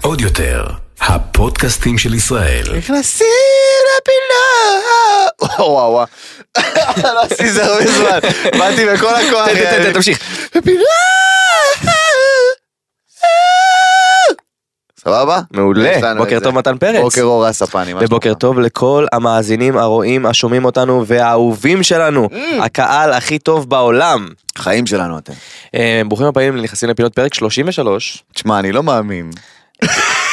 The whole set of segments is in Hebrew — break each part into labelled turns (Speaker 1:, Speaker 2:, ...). Speaker 1: עוד יותר, הפודקאסטים של ישראל.
Speaker 2: נכנסים לפינה. וואו וואו וואו. לא עשיתי זה הרבה זמן. באתי בכל הכוח.
Speaker 3: תן, תן, תן, תמשיך.
Speaker 2: לפינה. סבבה? מעולה. יש לנו את
Speaker 3: בוקר
Speaker 2: זה.
Speaker 3: טוב מתן פרץ.
Speaker 2: בוקר אור הספני. מה
Speaker 3: ובוקר
Speaker 2: שלומך?
Speaker 3: טוב לכל המאזינים, הרואים, השומעים אותנו והאהובים שלנו,
Speaker 2: Mm.
Speaker 3: הקהל הכי טוב בעולם.
Speaker 2: חיים שלנו אתם.
Speaker 3: אה, ברוכים הבאים לנכנסים לפינות פרק 33.
Speaker 2: תשמע, אני לא מאמין.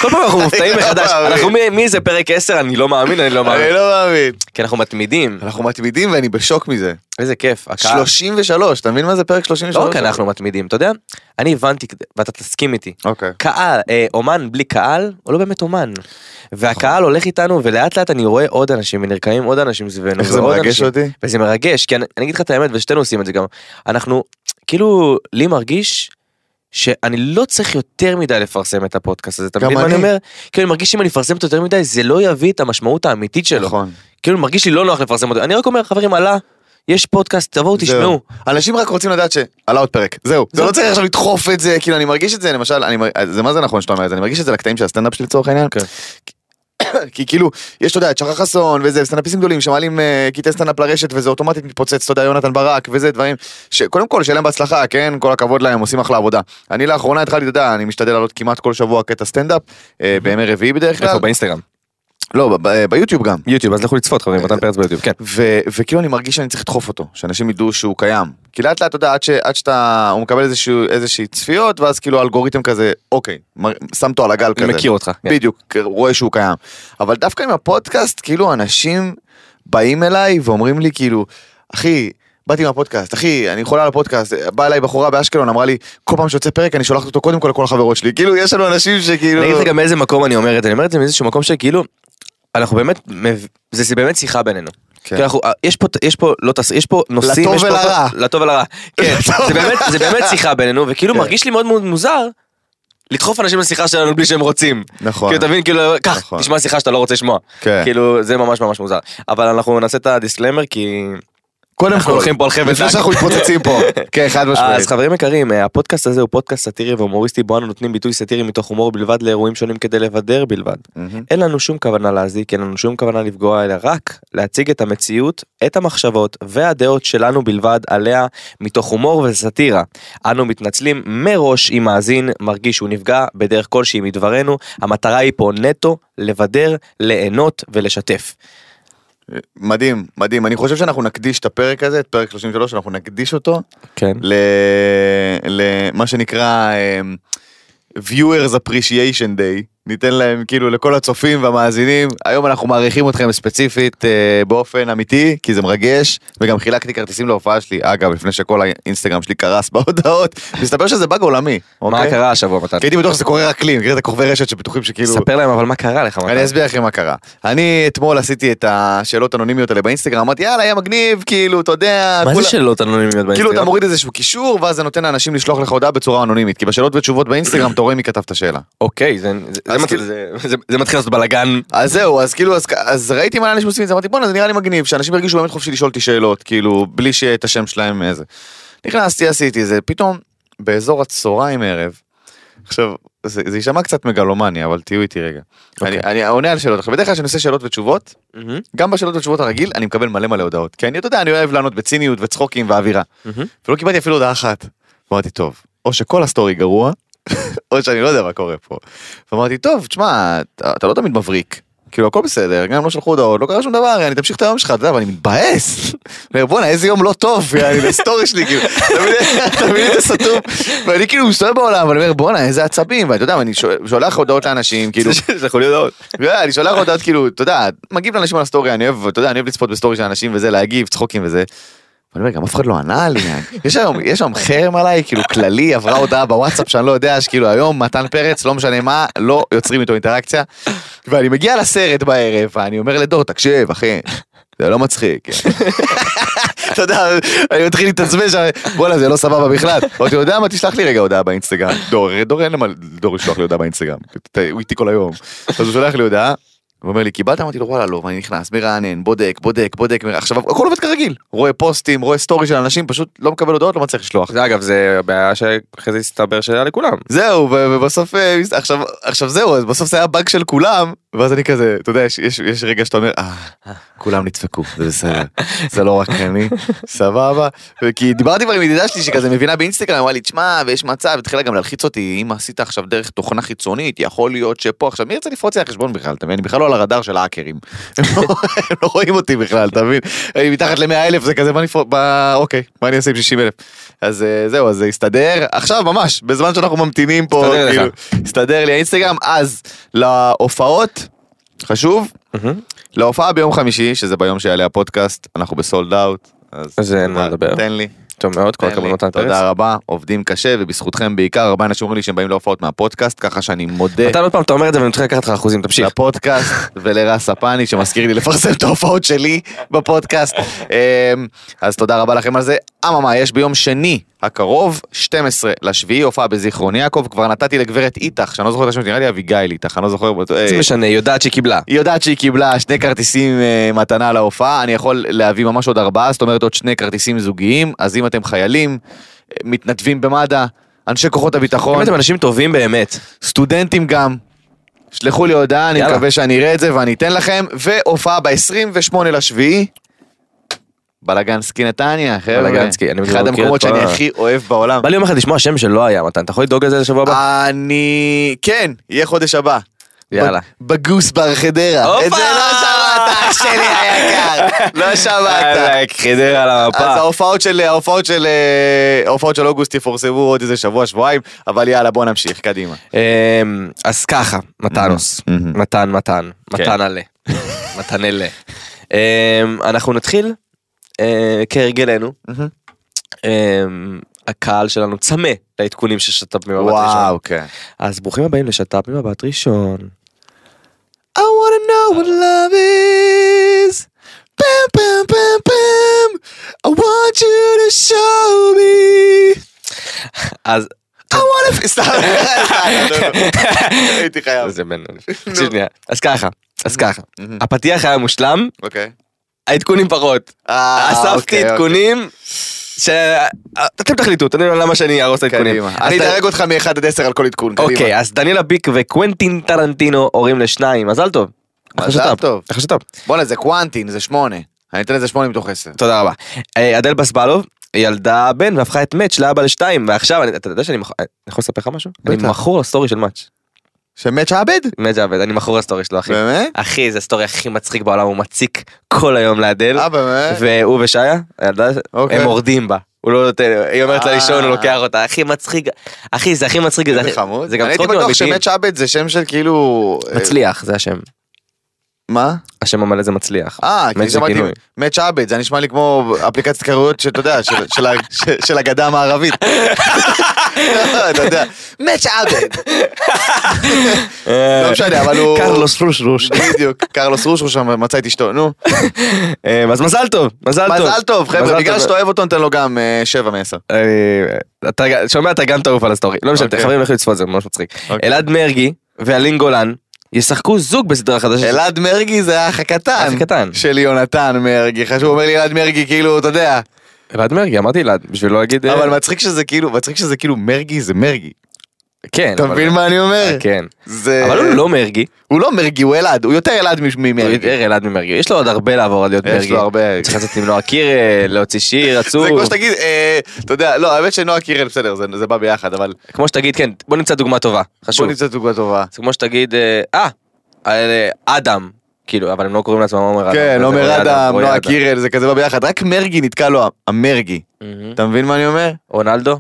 Speaker 3: כל פעם אנחנו מופתעים
Speaker 2: לא
Speaker 3: מחדש,
Speaker 2: מאמין.
Speaker 3: אנחנו מ- מי זה פרק 10, אני לא מאמין, אני לא
Speaker 2: אני
Speaker 3: מאמין.
Speaker 2: לא מאמין.
Speaker 3: כי אנחנו מתמידים,
Speaker 2: אנחנו מתמידים ואני בשוק מזה.
Speaker 3: איזה כיף, הקהל.
Speaker 2: 33, אתה מבין מה זה פרק 33?
Speaker 3: לא רק אנחנו מתמידים, אתה יודע? אני הבנתי, ואתה תסכים איתי,
Speaker 2: אוקיי.
Speaker 3: קהל, אה, אומן בלי קהל, הוא לא באמת אומן.
Speaker 2: נכון.
Speaker 3: והקהל הולך איתנו, ולאט לאט אני רואה עוד אנשים, ונרקמים עוד אנשים סביבנו.
Speaker 2: איך זה
Speaker 3: ועוד
Speaker 2: מרגש
Speaker 3: אנשים.
Speaker 2: אותי?
Speaker 3: וזה מרגש, כי אני, אני אגיד לך את האמת, ושתינו עושים את זה גם. אנחנו, כאילו, לי מרגיש שאני לא צריך יותר מדי לפרסם את הפודקאסט הזה, אתה
Speaker 2: גם
Speaker 3: מבין מה אני
Speaker 2: אני.
Speaker 3: אומר? כאילו, אני מרגיש שאם אני אפרסם אותו יותר מדי, זה לא יביא את המשמעות האמיתית שלו.
Speaker 2: נכון.
Speaker 3: כאילו, מרגיש לי לא נוח לפרסם אותו. אני רק אומר, חברים, עלה, יש פודקאסט, תבואו, תשמעו.
Speaker 2: זהו. אנשים רק רוצים לדעת שעלה עוד פרק, זהו. זה
Speaker 3: זהו.
Speaker 2: לא צריך עכשיו לדחוף את זה, כאילו אני מרגיש את זה, למשל, אני מר- זה מה זה נכון שאתה אומר את זה, אני מרגיש את זה לקטעים של הסטנדאפ שלי לצורך העניין.
Speaker 3: כן.
Speaker 2: כי כאילו, יש, אתה יודע, את שחר חסון, וזה, סטנדאפיסטים גדולים שמעלים אה, קטעי סטנדאפ לרשת, וזה אוטומטית מתפוצץ, אתה יודע, יונתן ברק, וזה דברים, שקודם כל, שיהיה להם בהצלחה, כן, כל הכבוד להם, עושים אחלה עבודה. אני לאחרונה התחלתי, אתה יודע, אני משתדל לעלות כמעט כל שבוע קטע סטנדאפ, אה, בימי רביעי בדרך כלל.
Speaker 3: איפה, באינסטגרם?
Speaker 2: לא, ב- ב- ביוטיוב גם.
Speaker 3: יוטיוב, אז לכו לצפות, חברים, מתן פרץ ביוטיוב, כן.
Speaker 2: ו- וכאילו אני מרגיש שאני צריך לדחוף אותו, שאנשים ידעו שהוא קיים. כי לאט לאט, אתה יודע, עד, ש- עד שאתה, הוא מקבל איזשהו, איזושהי צפיות, ואז כאילו האלגוריתם כזה, אוקיי, מר- שם אותו על הגל כזה.
Speaker 3: אני מכיר אותך. כן.
Speaker 2: בדיוק, רואה שהוא קיים. אבל דווקא עם הפודקאסט, כאילו אנשים באים אליי ואומרים לי כאילו, אחי, באתי עם הפודקאסט, אחי, אני חולה על הפודקאסט, באה אליי בחורה באשקלון, אמרה לי, כל פעם שיוצא פרק אני שולחת אותו קודם כל לכל החברות שלי. כאילו, יש לנו אנשים שכאילו...
Speaker 3: אני אגיד לך גם מאיזה מקום אני אומר את זה, אני אומר את זה מאיזשהו מקום שכאילו, אנחנו באמת, מב- זה זה באמת שיחה בינינו.
Speaker 2: כן.
Speaker 3: כי אנחנו- אה, יש פה, יש פה, לא תס... יש פה נושאים,
Speaker 2: לטוב
Speaker 3: יש פה-
Speaker 2: ולרע.
Speaker 3: לטוב ולרע, כן,
Speaker 2: לטוב
Speaker 3: זה באמת, זה באמת שיחה בינינו, וכאילו
Speaker 2: כן.
Speaker 3: מרגיש לי מאוד מאוד מוזר, לדחוף אנשים לשיחה שלנו בלי שהם רוצים,
Speaker 2: נכון.
Speaker 3: כאילו אתה מבין, כאילו, קח,
Speaker 2: נכון.
Speaker 3: תשמע שיחה שאתה לא רוצה לשמוע,
Speaker 2: כן.
Speaker 3: כאילו זה ממש ממש מוזר, אבל אנחנו נעשה את הדיסקלמר כי
Speaker 2: קודם
Speaker 3: אנחנו הולכים פה על חבל
Speaker 2: לפני
Speaker 3: דק.
Speaker 2: שאנחנו מתפוצצים פה. כן, חד משמעית.
Speaker 3: אז חברים יקרים, אה, הפודקאסט הזה הוא פודקאסט סאטירי והומוריסטי, בו אנו נותנים ביטוי סאטירי מתוך הומור בלבד לאירועים שונים כדי לבדר בלבד.
Speaker 2: מהמם.
Speaker 3: אין לנו שום כוונה להזיק, אין לנו שום כוונה לפגוע, אלא רק להציג את המציאות, את המחשבות והדעות שלנו בלבד עליה, מתוך הומור וסאטירה. אנו מתנצלים מראש אם מאזין מרגיש שהוא נפגע בדרך כלשהי מדברנו, המטרה היא פה נטו לבדר, ליהנות ולשתף.
Speaker 2: מדהים, מדהים. אני חושב שאנחנו נקדיש את הפרק הזה, את פרק 33, אנחנו נקדיש אותו
Speaker 3: כן.
Speaker 2: ל- למה שנקרא אמ, viewers appreciation day. ניתן להם כאילו לכל הצופים והמאזינים. היום אנחנו מעריכים אתכם ספציפית אה, באופן אמיתי, כי זה מרגש, וגם חילקתי כרטיסים להופעה שלי, אגב, לפני שכל האינסטגרם שלי קרס בהודעות. מסתבר שזה באג עולמי,
Speaker 3: מה
Speaker 2: אוקיי?
Speaker 3: קרה השבוע מתן?
Speaker 2: כי הייתי בטוח שזה קורה רק לי, מכיר את הכוכבי רשת שבטוחים שכאילו...
Speaker 3: ספר להם אבל מה קרה לך מתן.
Speaker 2: כאילו- אני אסביר לכם מה קרה. אני אתמול עשיתי את השאלות האנונימיות האלה באינסטגרם, אמרתי יאללה, יהיה מגניב, כאילו, אתה יודע,
Speaker 3: מה זה
Speaker 2: כולם-
Speaker 3: שאלות אנונימיות
Speaker 2: כאילו אתה
Speaker 3: באינסטגרם?
Speaker 2: מוריד איזשהו קישור, ואז זה נותן לאנשים לשלוח לך הודעה בצורה אנונימית, כי בשאלות ותשובות באינסטגרם אתה רואה מי כתב את השאלה.
Speaker 3: אוקיי, זה- זה- זה
Speaker 2: אז
Speaker 3: מתחיל-
Speaker 2: כאילו-
Speaker 3: זה- זה- זה מתחיל לעשות בלאגן.
Speaker 2: אז זהו, אז כאילו, אז- אז ראיתי מה אנשים עושים את זה, אמרתי בואנה, זה נראה לי מגניב, שאנשים ירגישו באמת חופשי לשאול אותי שאלות, כאילו, בלי שאת השם שלהם איזה. נכנסתי, עשיתי זה, פתאום, באזור הצהריים ערב, עכשיו, זה זה יישמע קצת מגלומני, אבל תהיו איתי רגע. אני-
Speaker 3: אוקיי.
Speaker 2: אני עונה על שאלות, עכשיו בדרך כלל כשאני עושה שאלות ותשובות, גם בשאלות ותשובות הרגיל, אני מקבל מלא מלא הודעות. כי אני, אתה יודע, אני אוהב לענות בציניות וצחוקים ואווירה.
Speaker 3: מהמם.
Speaker 2: ולא קיבלתי אפילו הודעה אחת. אמרתי, טוב, או שכל הסטורי גרוע, או שאני לא יודע מה קורה פה. ואמרתי, טוב, תשמע, אתה, אתה לא תמיד מבריק. כאילו, הכל בסדר, גם אם לא שלחו הודעות, לא קרה שום דבר, יעני, תמשיך את היום שלך, אתה יודע, אבל אני מתבאס. אני אומר, בואנה, איזה יום לא טוב, יעני, לסטורי שלי, כאילו, אתה מבין- אתה מבין איזה סתום? ואני כאילו מסתובב בעולם, ואני אומר, בואנה, איזה עצבים, ואתה יודע, ואני שול- שולח הודעות לאנשים, כאילו,
Speaker 3: שלחו לי הודעות.
Speaker 2: אני שולח הודעות כאילו, אתה יודע, מגיב לאנשים על הסטורי, אני אוהב, אתה יודע, אני אוהב לצפות בסטורי של אנשים וזה, להגיב, צחוקים וזה. ואני אומר, גם אף אחד לא ענה לי, יש היום, יש היום חרם עליי, כאילו כללי, עברה הודעה בוואטסאפ שאני לא יודע, שכאילו היום מתן פרץ, לא משנה מה, לא יוצרים איתו אינטראקציה. ואני מגיע לסרט בערב, ואני אומר לדור, תקשיב, אחי, זה לא מצחיק. אתה יודע, אני מתחיל להתעצבן שם, בואנה, זה לא סבבה בכלל. אבל אתה יודע מה, תשלח לי רגע הודעה באינסטגרם. דור, דור אין למה לדור לשלוח לי הודעה באינסטגרם. ת- הוא איתי כל היום. אז הוא שולח לי הודעה, ואומר לי קיבלת? אמרתי לו וואלה לא, ואני נכנס, מרענן, בודק, בודק, בודק, מרע- עכשיו הכל עובד כרגיל, רואה פוסטים, רואה סטורי של אנשים, פשוט לא מקבל הודעות, לא מצליח לשלוח.
Speaker 3: זה אגב זה בעיה שאחרי זה הסתבר שהיה לכולם.
Speaker 2: זהו, ו- ובסוף, אה, מס- עכשיו, עכשיו זהו, אז בסוף זה היה באג של כולם, ואז אני כזה, אתה יודע, יש, יש, יש רגע שאתה אומר, אה, כולם נדפקו, זה בסדר, זה לא רק אני, סבבה, כי דיברתי כבר עם ידידה שלי שכזה מבינה באינסטגרם, אמרה לי, תשמע, ויש מצב, התחילה גם להלחיץ אותי, אם עשית עכשיו דרך תוכנה חיצונית, יכול להיות שפה, עכשיו מי ירצה לפרוץ לי לחשבון בכלל, אתה מבין, אני בכלל לא על הרדאר של האקרים, הם לא- הם לא רואים אותי בכלל, אתה מבין, אני מתחת ל-100 אלף, זה כזה, מה נפרוץ, מה- אוקיי, מה אני אעשה עם 60 אלף, אז אה, זהו, אז זה הסתדר, עכשיו ממש, בזמן שאנחנו ממתינים פה,
Speaker 3: הסתדר לך.
Speaker 2: כאילו, הסתדר לי האינסטגרם, אז להופעות, חשוב, להופעה ביום חמישי, שזה ביום שיעלה הפודקאסט, אנחנו בסולד אאוט.
Speaker 3: אז אין מה לדבר.
Speaker 2: תן לי,
Speaker 3: טוב מאוד כל
Speaker 2: תן
Speaker 3: הכבוד
Speaker 2: לי.
Speaker 3: נתן פרץ.
Speaker 2: תודה רבה, עובדים קשה ובזכותכם בעיקר, הרבה אנשים אומרים לי שהם באים להופעות מהפודקאסט, ככה שאני מודה
Speaker 3: נתן עוד פעם אתה אומר את זה ואני מתחיל לקחת לך אחוזים תמשיך.
Speaker 2: לפודקאסט ולרס הפאני שמזכיר לי לפרסם את ההופעות שלי בפודקאסט. אמ, אז תודה רבה לכם על זה. אממה, יש ביום שני הקרוב, 12 לשביעי, הופעה בזיכרון יעקב, כבר נתתי לגברת איתך, שאני לא זוכר את השם, נראה לי אביגיל איתך, אני לא זוכר.
Speaker 3: זה
Speaker 2: אה,
Speaker 3: משנה היא יודעת שהיא קיבלה.
Speaker 2: היא יודעת שהיא קיבלה שני כרטיסים אה, מתנה להופעה, אני יכול להביא ממש עוד ארבעה, זאת אומרת עוד שני כרטיסים זוגיים, אז אם אתם חיילים, אה, מתנדבים במד"א, אנשי כוחות
Speaker 3: אם
Speaker 2: הביטחון,
Speaker 3: אתם אנשים טובים באמת.
Speaker 2: סטודנטים גם, שלחו לי הודעה, אני
Speaker 3: יאללה.
Speaker 2: מקווה שאני אראה את זה ואני אתן לכם, והופעה ב-28 לשביעי. בלגנסקי נתניה, חבר'ה.
Speaker 3: בלגנסקי, אני מכיר
Speaker 2: אחד
Speaker 3: את
Speaker 2: המקומות
Speaker 3: כל
Speaker 2: שאני
Speaker 3: ה-
Speaker 2: הכי אוהב בעולם.
Speaker 3: בא לי יום אחד לשמוע שם שלא היה מתן אתה יכול לדאוג לזה לשבוע
Speaker 2: אה,
Speaker 3: הבא?
Speaker 2: אני... כן, יהיה חודש הבא.
Speaker 3: יאללה.
Speaker 2: ב- בגוס בר חדרה.
Speaker 3: הופה!
Speaker 2: את זה לא שמעת, אח שלי היקר. לא שמעת.
Speaker 3: חדר על
Speaker 2: אז
Speaker 3: המפה.
Speaker 2: ההופעות של ההופעות של אה, ההופעות של אוגוסט יפורסמו עוד איזה שבוע שבועיים אבל יאללה בוא נמשיך קדימה.
Speaker 3: אמ, אז ככה מתנוס
Speaker 2: מהמם.
Speaker 3: מתן מתן
Speaker 2: כן.
Speaker 3: מתנלה מתנלה. אמ, אנחנו נתחיל אה, כהרגלנו.
Speaker 2: מהמם.
Speaker 3: אמ, הקהל שלנו צמא לעדכונים של שת"פ ממבט ראשון.
Speaker 2: וואו כן.
Speaker 3: אז ברוכים הבאים לשת"פ ממבט ראשון.
Speaker 2: I wanna know what love is. פעם פעם פעם פעם. I want you to show me.
Speaker 3: אז
Speaker 2: I wanna... f- סתם. הייתי חייב.
Speaker 3: זה בן תקשיב שנייה. אז ככה אז ככה הפתיח היה מושלם
Speaker 2: אוקיי.
Speaker 3: העדכונים פחות.
Speaker 2: אה,
Speaker 3: אספתי
Speaker 2: אוקיי,
Speaker 3: עדכונים ש... אה, אתם תחליטו, אתם יודעים למה שאני אהרוס את העדכונים.
Speaker 2: אוקיי. קדימה.
Speaker 3: אז
Speaker 2: אני
Speaker 3: ת-
Speaker 2: אדרג אותך מ-1 עד 10 על כל עדכון. קדימה.
Speaker 3: אוקיי, אז דניאלה ביק וקוונטין טרנטינו הורים לשניים, מזל טוב. אחלה
Speaker 2: מזל
Speaker 3: שת"פ.
Speaker 2: טוב.
Speaker 3: אחלה שת"פ.
Speaker 2: בואנה זה קוונטין זה 8. אני אתן לזה 8 מתוך 10.
Speaker 3: תודה רבה. אה, אדל בסבלוב. ילדה בן והפכה את מאץ' לאבא לשתיים ועכשיו אני- אתה יודע שאני מכור- אני יכול לספר לך משהו? אני
Speaker 2: בטח.
Speaker 3: מכור לסטורי של מאץ'.
Speaker 2: שמת שעבד?
Speaker 3: מאץ' עבד אני מכור לסטורי שלו אחי.
Speaker 2: באמת?
Speaker 3: אחי זה הסטורי הכי מצחיק בעולם הוא מציק כל היום לאדל.
Speaker 2: אה באמת?
Speaker 3: והוא ושיה, הילדה,
Speaker 2: אוקיי.
Speaker 3: הם מורדים בה. הוא לא נותן, היא אומרת לה
Speaker 2: אה.
Speaker 3: לישון, הוא לוקח אותה, הכי מצחיק, אחי זה הכי מצחיק, זה
Speaker 2: זה
Speaker 3: הכי-
Speaker 2: חמוד.
Speaker 3: זה גם
Speaker 2: אני הייתי
Speaker 3: צחוקים
Speaker 2: בטוח
Speaker 3: אמיתיים.
Speaker 2: שמת שעבד זה שם של כאילו... אה,
Speaker 3: מצליח, זה השם,
Speaker 2: מה?
Speaker 3: השם המלא זה מצליח.
Speaker 2: אה,
Speaker 3: מת
Speaker 2: כי
Speaker 3: זה
Speaker 2: שמעתי
Speaker 3: כינוי.
Speaker 2: מת שעבד, זה נשמע לי כמו אפליקציית קרויות שאתה יודע, של- של ה- של- של הגדה המערבית. לא, אתה יודע, מת שעבד. לא משנה, אבל הוא...
Speaker 3: אה, קרלוס רושרוש.
Speaker 2: בדיוק, קרלוס רושרו שם מצא את אשתו, נו.
Speaker 3: אה, אז מזל טוב, מזל טוב.
Speaker 2: מזל טוב,
Speaker 3: מזל
Speaker 2: חבר'ה, בגלל
Speaker 3: טוב.
Speaker 2: שאתה אוהב אותו, נותן לו גם 7 מ-10.
Speaker 3: אה, אתה גם- שומע אתה גם תעוף על הסטורי, לא משנה,
Speaker 2: אוקיי.
Speaker 3: חברים לכו לצפות זה ממש מצחיק.
Speaker 2: אוקיי.
Speaker 3: אלעד מרגי ואלין גולן ישחקו זוג בסדרה חדשה.
Speaker 2: אלעד מרגי זה האח הקטן.
Speaker 3: האח הקטן.
Speaker 2: של יונתן מרגי. חשוב, אומר לי אלעד מרגי, כאילו, אתה יודע.
Speaker 3: אלעד מרגי אמרתי אלעד בשביל לא להגיד, אה,
Speaker 2: אבל מצחיק שזה כאילו, מצחיק שזה כאילו מרגי זה מרגי.
Speaker 3: כן,
Speaker 2: אתה
Speaker 3: אבל-
Speaker 2: מבין מה אה, אני אומר?
Speaker 3: כן,
Speaker 2: זה...
Speaker 3: אבל הוא לא מרגי.
Speaker 2: הוא לא מרגי, הוא אלעד, הוא יותר אלעד ממ-
Speaker 3: הוא
Speaker 2: ממרגי.
Speaker 3: יותר אלעד ממרגי, יש לו עוד הרבה לעבור על להיות מרגי.
Speaker 2: יש לו הרבה...
Speaker 3: צריך לצאת עם נועה קירל, להוציא שיר עצוב.
Speaker 2: זה כמו שתגיד, אה, אתה יודע, לא, האמת שנועה קירל, בסדר, זה- זה בא ביחד, אבל
Speaker 3: כמו שתגיד, כן, בוא נמצא דוגמה טובה,
Speaker 2: בוא
Speaker 3: חשוב.
Speaker 2: נמצא דוגמה טובה.
Speaker 3: זה כמו שתגיד, אה, אה, אה, אדם, כאילו, אבל הם לא קוראים לעצמם עומר אדם.
Speaker 2: כן,
Speaker 3: זה רועי
Speaker 2: עומר אדם,
Speaker 3: רועי
Speaker 2: נועה קירל, זה כזה בא ביחד, רק מרגי נתקע לו המרגי.
Speaker 3: מהמם.
Speaker 2: אתה מבין מה אני אומר?
Speaker 3: Mm-hmm. רונלדו?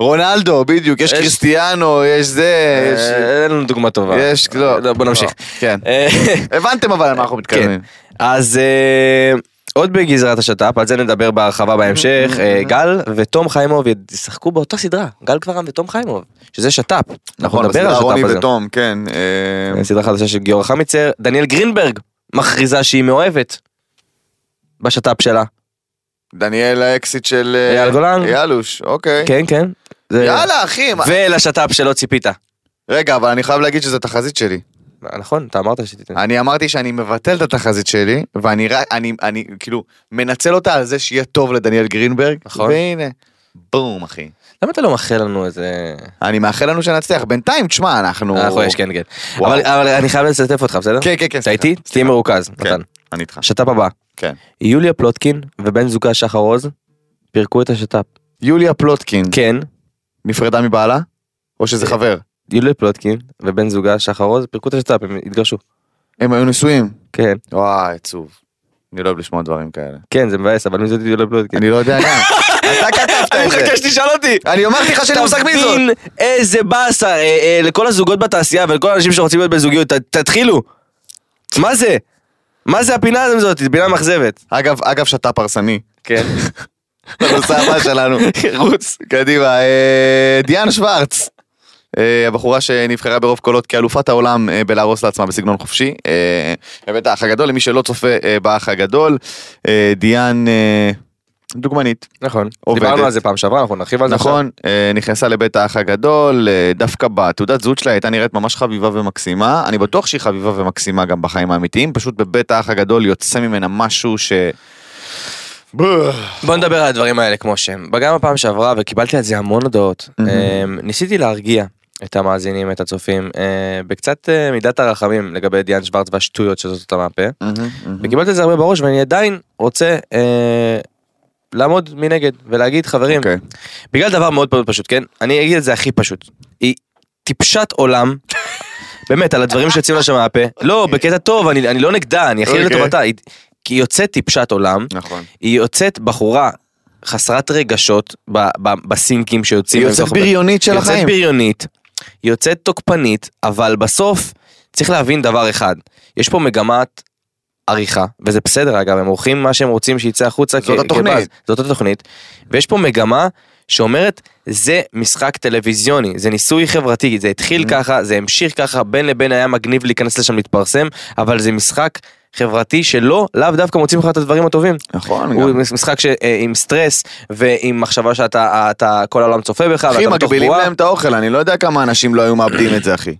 Speaker 2: רונלדו, בדיוק, יש
Speaker 3: יש-
Speaker 2: קריסטיאנו, יש זה, יש...
Speaker 3: אה, אין לנו דוגמה טובה. אה,
Speaker 2: יש, לא.
Speaker 3: בוא נמשיך.
Speaker 2: כן.
Speaker 3: אה, כן.
Speaker 2: הבנתם אבל על מה אנחנו מתקדמים.
Speaker 3: אז אה, עוד בגזרת השת"פ, על זה נדבר בהרחבה בהמשך, אה, גל ותום חיימוב ישחקו באותה סדרה, גל קברם ותום חיימוב, שזה שת"פ. אנחנו נדבר על
Speaker 2: בסדרה נכון, רוני
Speaker 3: השת"פ הזה.
Speaker 2: ותום, כן. אה,
Speaker 3: סדרה חדשה של גיורא חמיצר, דניאל גרינברג מכריזה שהיא מאוהבת בשת"פ שלה.
Speaker 2: דניאל האקסיט של... אה,
Speaker 3: אייל גולן?
Speaker 2: יאלוש, אוקיי.
Speaker 3: כן, כן. זה-
Speaker 2: יאללה, אחי. מה-
Speaker 3: ולשת"פ שלא ציפית. אה,
Speaker 2: רגע, אבל אני חייב להגיד שזו תחזית שלי.
Speaker 3: נכון, אתה אמרת שתיתן.
Speaker 2: אני אמרתי שאני מבטל את התחזית שלי, ואני רק, אני, אני כאילו מנצל אותה על זה שיהיה טוב לדניאל גרינברג,
Speaker 3: נכון.
Speaker 2: והנה, בום אחי.
Speaker 3: למה אתה לא מאחל לנו איזה...
Speaker 2: אני מאחל לנו שנצליח, בינתיים תשמע אנחנו...
Speaker 3: אנחנו יש, כן, כן.
Speaker 2: וואו.
Speaker 3: אבל אבל אני חייב לשתף אותך, בסדר?
Speaker 2: כן, כן, כן.
Speaker 3: אתה
Speaker 2: סליחה.
Speaker 3: איתי? תהיה מרוכז,
Speaker 2: כן,
Speaker 3: נתן.
Speaker 2: אני איתך.
Speaker 3: שת"פ הבא.
Speaker 2: כן.
Speaker 3: יוליה פלוטקין ובן זוגה שחר עוז פירקו את השת"פ.
Speaker 2: יוליה פלוטקין,
Speaker 3: כן,
Speaker 2: נפרדה מבעלה? או שזה חבר?
Speaker 3: יוליה פלוטקין ובן זוגה שחר עוז פירקו את השת"פ, הם התגרשו.
Speaker 2: הם היו נשואים.
Speaker 3: כן,
Speaker 2: וואי, עצוב. אני לא אוהב לשמוע דברים כאלה.
Speaker 3: כן, זה מבאס, אבל מי זאת יוליה פלוטקין? אה, כן.
Speaker 2: אני לא יודע גם. אתה כתבת את זה.
Speaker 3: שתשאל אותי!
Speaker 2: אני אמרתי לך שאין לי מושג מי זאת.
Speaker 3: תבין איזה באסה אה, אה, לכל הזוגות בתעשייה ולכל האנשים שרוצים להיות בזוגיות, ת- תתחילו. מה זה? מה זה הפינה הזאת? פינה מאכזבת.
Speaker 2: אגב, אגב, שאתה פרסני.
Speaker 3: כן.
Speaker 2: הנושא הבא שלנו. רוץ. קדימה. אה, דיאן שוורץ. אה, הבחורה שנבחרה ברוב קולות כאלופת העולם אה, בלהרוס לעצמה בסגנון חופשי. אה, באמת האח הגדול, למי שלא צופה אה, באח הגדול. אה, דיאן אה, דוגמנית.
Speaker 3: נכון.
Speaker 2: עובדת.
Speaker 3: דיברנו על זה פעם שעברה, אנחנו נרחיב על זה עכשיו.
Speaker 2: נכון, אה, נכנסה לבית האח הגדול, אה, דווקא בתעודת זהות שלה הייתה נראית ממש חביבה ומקסימה, אני בטוח שהיא חביבה ומקסימה גם בחיים האמיתיים, פשוט בבית האח הגדול יוצא ממנה משהו ש...
Speaker 3: בוא נדבר על הדברים האלה כמו שהם. גם הפעם שעברה, וקיבלתי על זה המון הודעות,
Speaker 2: Mhm.
Speaker 3: אמ, ניסיתי להרגיע את המאזינים, את הצופים, אה, בקצת אה, מידת הרחמים לגבי דיאן שוורץ והשטויות שזאת אותה מהפה. וקיבלתי את זה הרבה בראש, ואני עדיין רוצה אה, לעמוד מנגד ולהגיד, חברים,
Speaker 2: אוקיי.
Speaker 3: בגלל דבר מאוד מאוד פשוט, כן? אני אגיד את זה הכי פשוט. היא טיפשת עולם. באמת, על הדברים שיוצאים לה שם מהפה. לא, בקטע טוב, אני אני לא נגדה, אני הכי
Speaker 2: אוקיי.
Speaker 3: לטובתה. היא- כי היא יוצאת טיפשת עולם,
Speaker 2: נכון.
Speaker 3: היא יוצאת בחורה חסרת רגשות ב- ב- בסינקים שיוצאים.
Speaker 2: היא יוצאת
Speaker 3: מתוך-
Speaker 2: בריונית של
Speaker 3: היא יוצאת
Speaker 2: החיים.
Speaker 3: בריונית, היא יוצאת תוקפנית, אבל בסוף צריך להבין דבר אחד, יש פה מגמת עריכה, וזה בסדר אגב, הם עורכים מה שהם רוצים שיצא החוצה.
Speaker 2: זאת
Speaker 3: כ-
Speaker 2: התוכנית.
Speaker 3: כבאז. זאת התוכנית, ויש פה מגמה שאומרת, זה משחק טלוויזיוני, זה ניסוי חברתי, זה התחיל
Speaker 2: Mm.
Speaker 3: ככה, זה המשיך ככה, בין לבין היה מגניב להיכנס לשם להתפרסם, אבל זה משחק חברתי שלא, לאו דווקא מוצאים לך את הדברים הטובים.
Speaker 2: נכון.
Speaker 3: הוא
Speaker 2: גם.
Speaker 3: משחק ש- אה, עם סטרס ועם מחשבה שאתה אתה- כל העולם צופה בך
Speaker 2: אחי,
Speaker 3: ואתה בתוך
Speaker 2: מגבילים
Speaker 3: בועה
Speaker 2: להם את האוכל, אני לא יודע כמה אנשים לא היו מאבדים את זה, אחי.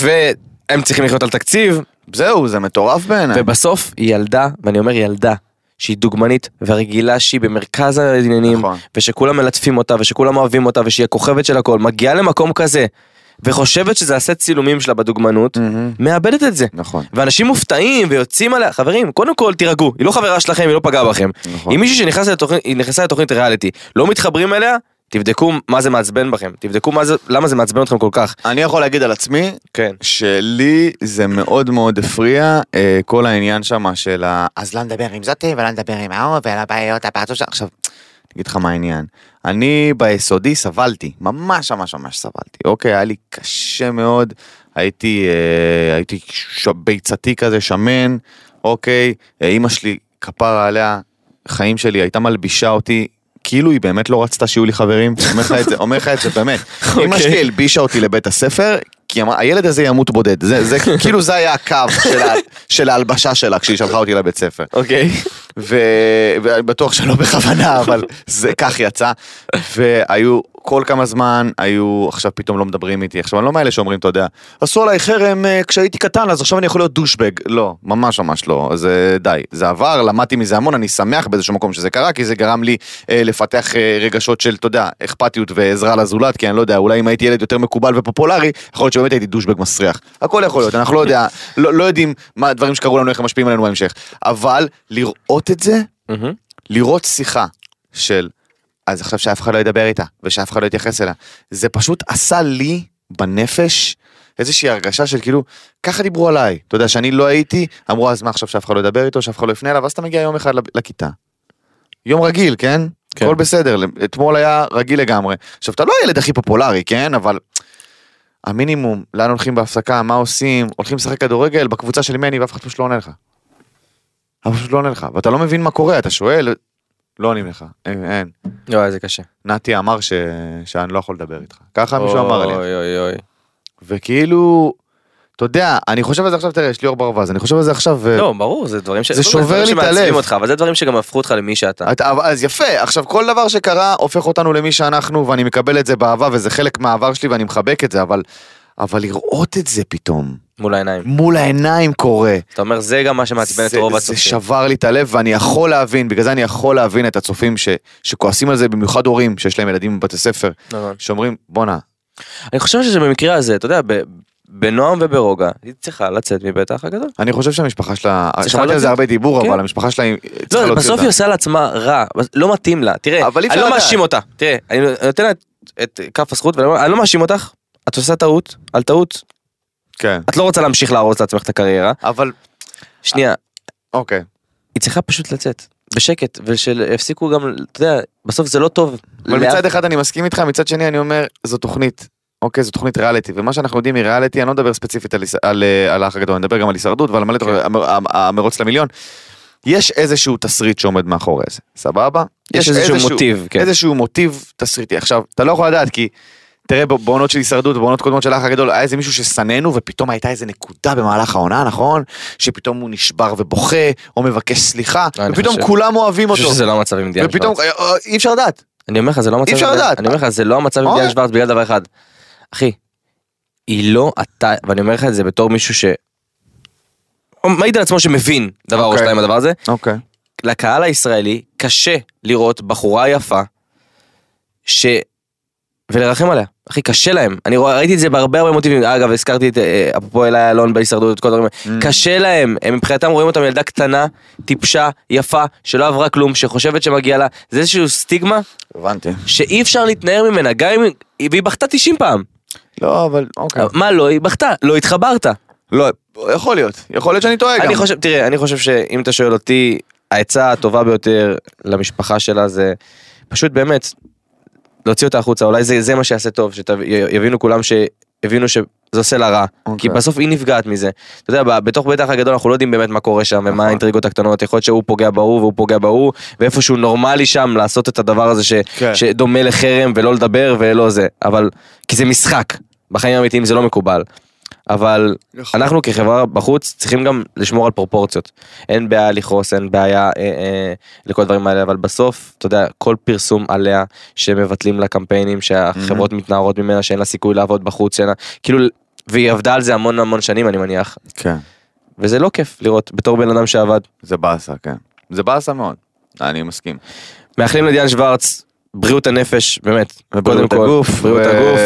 Speaker 3: והם צריכים לחיות על תקציב
Speaker 2: זהו, זה מטורף
Speaker 3: אה.
Speaker 2: בעיניי.
Speaker 3: ובסוף היא ילדה ואני אומר ילדה שהיא דוגמנית ורגילה שהיא במרכז העניינים
Speaker 2: נכון.
Speaker 3: ושכולם מלטפים אותה ושכולם אוהבים אותה ושהיא הכוכבת של הכל מגיעה למקום כזה וחושבת שזה הסט צילומים שלה בדוגמנות
Speaker 2: מהמם.
Speaker 3: מאבדת את זה.
Speaker 2: נכון.
Speaker 3: ואנשים מופתעים ויוצאים עליה, חברים, קודם כל תירגעו, היא לא חברה שלכם, היא לא פגעה בכם.
Speaker 2: נכון.
Speaker 3: היא מישהי שנכנס לתוכנית- היא נכנסה לתוכנית ריאליטי, לא מתחברים אליה, תבדקו מה זה מעצבן בכם, תבדקו מה זה, למה זה מעצבן אתכם כל כך.
Speaker 2: אני יכול להגיד על עצמי,
Speaker 3: כן.
Speaker 2: שלי זה מאוד מאוד הפריע, אה, כל העניין שם של ה... אז לא נדבר עם זאתי, ולא נדבר עם ההוא, ולא בעיות הפרצוף שלך. עכשיו, אני אגיד לך מה העניין. אני ביסודי סבלתי, ממש ממש ממש סבלתי. אוקיי, היה לי קשה מאוד, הייתי, אה, הייתי ש... ביצתי כזה, שמן, אוקיי, אה, אימא שלי, כפרה עליה, חיים שלי, הייתה מלבישה אותי. כאילו היא באמת לא רצתה שיהיו לי חברים, אומר לך את זה, אומר לך את זה באמת. אמא
Speaker 3: אוקיי.
Speaker 2: שלי הלבישה אותי לבית הספר, כי אמרה, הילד הזה ימות בודד. זה, זה, כאילו זה היה הקו של, ה, של ההלבשה שלה כשהיא שלחה אותי לבית ספר.
Speaker 3: אוקיי.
Speaker 2: ו... ואני בטוח שלא בכוונה, אבל זה כך יצא. והיו כל כמה זמן, היו, עכשיו פתאום לא מדברים איתי. עכשיו, אני לא מאלה שאומרים, אתה יודע, עשו עליי חרם אה, כשהייתי קטן, אז עכשיו אני יכול להיות דושבג. לא, ממש ממש לא. זה די. זה עבר, למדתי מזה המון, אני שמח באיזשהו מקום שזה קרה, כי זה גרם לי אה, לפתח אה, רגשות של, אתה יודע, אכפתיות ועזרה לזולת, כי אני לא יודע, אולי אם הייתי ילד יותר מקובל ופופולרי, יכול להיות שבאמת הייתי דושבג מסריח. הכל יכול להיות, אנחנו לא יודע, לא, לא יודעים מה הדברים שקרו לנו, איך הם משפיעים עלינו בהמשך. אבל לראות את זה,
Speaker 3: מהמם.
Speaker 2: לראות שיחה של אז עכשיו שאף אחד לא ידבר איתה ושאף אחד לא יתייחס אליה זה פשוט עשה לי בנפש איזושהי הרגשה של כאילו ככה דיברו עליי אתה יודע שאני לא הייתי אמרו אז מה עכשיו שאף אחד לא ידבר איתו שאף אחד לא יפנה אליו ואז אתה מגיע יום אחד לב- לכיתה. יום רגיל כן?
Speaker 3: כן.
Speaker 2: הכל בסדר אתמול היה רגיל לגמרי עכשיו אתה לא הילד הכי פופולרי כן אבל. המינימום לאן הולכים בהפסקה מה עושים הולכים לשחק כדורגל בקבוצה של מני ואף אחד פשוט לא עונה לך. אף אחד פשוט לא עונה לך ואתה לא מבין מה קורה אתה שואל לא עונים לך, אין, אין.
Speaker 3: אוי, זה קשה.
Speaker 2: נתי אמר ש... שאני לא יכול לדבר איתך. ככה מישהו אמר לי.
Speaker 3: אוי אוי אוי.
Speaker 2: וכאילו, אתה יודע, אני חושב על זה עכשיו, תראה, יש ליאור ברווז, אני חושב על זה עכשיו... אה, ו-
Speaker 3: לא, ברור, זה דברים ש...
Speaker 2: זה שובר
Speaker 3: דברים
Speaker 2: לי את
Speaker 3: שמעצבים
Speaker 2: הלב.
Speaker 3: אותך, אבל זה דברים שגם הפכו אותך למי שאתה.
Speaker 2: אתה, אבל- אז יפה, עכשיו כל דבר שקרה הופך אותנו למי שאנחנו, ואני מקבל את זה באהבה, וזה חלק מהעבר שלי ואני מחבק את זה, אבל אבל לראות את זה פתאום,
Speaker 3: מול העיניים.
Speaker 2: מול העיניים קורה.
Speaker 3: אתה אומר זה גם מה שמעצבן את
Speaker 2: זה-
Speaker 3: רוב
Speaker 2: זה
Speaker 3: הצופים.
Speaker 2: שבר לי את הלב ואני יכול להבין, בגלל זה אני יכול להבין את הצופים ש, שכועסים על זה, במיוחד הורים שיש להם ילדים בבתי ספר,
Speaker 3: נכון.
Speaker 2: שאומרים בואנה,
Speaker 3: אני חושב שזה במקרה הזה, אתה יודע, ב- בנועם וברוגע, היא צריכה לצאת מבית האח הגדול.
Speaker 2: אני חושב שהמשפחה שלה,
Speaker 3: צריכה
Speaker 2: שמעתי על
Speaker 3: להוציא-
Speaker 2: זה הרבה דיבור,
Speaker 3: כן.
Speaker 2: אבל המשפחה שלה היא צריכה
Speaker 3: לא,
Speaker 2: להוציא
Speaker 3: בסוף
Speaker 2: אותה.
Speaker 3: היא עושה לעצמה רע, אז לא מתאים לה, תראה,
Speaker 2: אבל אי
Speaker 3: אני
Speaker 2: אפשר
Speaker 3: לא
Speaker 2: לדעת.
Speaker 3: מאשים אותה, תראה, אני נותן לה את- את כף הזכות, ואני אומר, אני לא מאשים אותך, את עושה טעות, על טעות,
Speaker 2: כן,
Speaker 3: את לא רוצה להמשיך להרוס לעצמך את הקריירה,
Speaker 2: אבל
Speaker 3: שנייה,
Speaker 2: אוקיי,
Speaker 3: היא צריכה פשוט לצאת, בשקט, ושיפסיקו גם, אתה יודע, בסוף זה לא טוב.
Speaker 2: אבל
Speaker 3: לאף-
Speaker 2: מצד אחד אני מסכים איתך, מצד שני אני אומר זו תוכנית, אוקיי זו תוכנית ריאליטי, ומה שאנחנו יודעים מריאליטי, אני לא מדבר ספציפית על היש- על אה, על האח הגדול, אני מדבר גם על הישרדות ועל מלא
Speaker 3: כן.
Speaker 2: דברים, המר- המ- המרוץ למיליון. יש איזשהו תסריט שעומד מאחורי זה, סבבה?
Speaker 3: יש איזשהו מוטיב, כן.
Speaker 2: איזשהו מוטיב תסריטי. עכשיו, אתה לא יכול לדעת כי, תראה, ב- בעונות של הישרדות ובעונות קודמות של האח הגדול, היה איזה מישהו ששנאנו ופתאום הייתה איזה נקודה במהלך העונה, נכון? שפתאום הוא נשבר ובוכה, או מבקש סליחה,
Speaker 3: אה, אני
Speaker 2: ופתאום
Speaker 3: חושב-
Speaker 2: כולם אוהבים
Speaker 3: אני חושב
Speaker 2: אותו.
Speaker 3: שזה לא המצב עם דיאן
Speaker 2: ופתאום,
Speaker 3: שוורץ.
Speaker 2: אה, אה, אי אפשר לדעת.
Speaker 3: אני אומר לך, זה לא המצב
Speaker 2: אי אפשר
Speaker 3: עם דיאן-
Speaker 2: לדעת.
Speaker 3: אני אומר לך, זה לא המצב עם
Speaker 2: אוקיי.
Speaker 3: דיאן שוורץ בגלל דבר אחד. אחי, היא לא אתה, ואני אומר לך את זה בתור מישהו ש... הוא מעיד על עצמו שמבין דבר או
Speaker 2: אוקיי.
Speaker 3: שתיים הדבר הזה,
Speaker 2: אוקיי.
Speaker 3: לקהל הישראלי קשה לראות בחורה יפה ש... ולרחם עליה. אחי, קשה להם. אני רוא- ראיתי את זה בהרבה הרבה מוטיבים. אגב, הזכרתי את אה, אפרופו אלי אלון בהישרדות, את כל הדברים האלה. קשה להם. הם מבחינתם רואים אותם ילדה קטנה, טיפשה, יפה, שלא עברה כלום, שחושבת שמגיע לה. זה איזשהו סטיגמה
Speaker 2: הבנתי.
Speaker 3: שאי אפשר להתנער ממנה, גם אם... היא- והיא בכתה 90 פעם.
Speaker 2: לא, אבל אוקיי.
Speaker 3: מה לא, היא בכתה, לא התחברת.
Speaker 2: לא, יכול להיות. יכול להיות שאני טועה גם.
Speaker 3: אני חושב, תראה, אני חושב שאם אתה שואל אותי, העצה הטובה ביותר למשפחה שלה זה פשוט באמת להוציא אותה החוצה, אולי זה, זה מה שיעשה טוב, שיבינו כולם שהבינו שזה עושה לה רע, okay. כי
Speaker 2: אוקיי.
Speaker 3: בסוף היא נפגעת מזה. אתה יודע, ב- בתוך בית האח הגדול אנחנו לא יודעים באמת מה קורה שם ומה
Speaker 2: נכון.
Speaker 3: האינטריגות הקטנות, יכול להיות שהוא פוגע בהוא והוא פוגע בהוא, ואיפשהו נורמלי שם לעשות את הדבר הזה ש,
Speaker 2: כן.
Speaker 3: שדומה לחרם ולא לדבר ולא זה, אבל כי זה משחק, בחיים האמיתיים זה לא מקובל. אבל
Speaker 2: נכון.
Speaker 3: אנחנו כחברה בחוץ צריכים גם לשמור על פרופורציות. אין בעיה לכעוס, אין בעיה אה, אה, לכל הדברים האלה, אבל בסוף, אתה יודע, כל פרסום עליה שמבטלים לה קמפיינים,
Speaker 2: Mhm.
Speaker 3: שהחברות מתנערות ממנה, שאין לה סיכוי לעבוד בחוץ, שאין לה, כאילו, והיא עבדה על זה המון המון שנים אני מניח,
Speaker 2: כן.
Speaker 3: וזה לא כיף לראות בתור בן אדם שעבד.
Speaker 2: זה באסה, כן. זה באסה מאוד. אני מסכים.
Speaker 3: מאחלים לדיאן שוורץ. בריאות הנפש, באמת,
Speaker 2: ובריאות
Speaker 3: קודם כל,
Speaker 2: הגוף,
Speaker 3: בריאות
Speaker 2: ו-
Speaker 3: הגוף,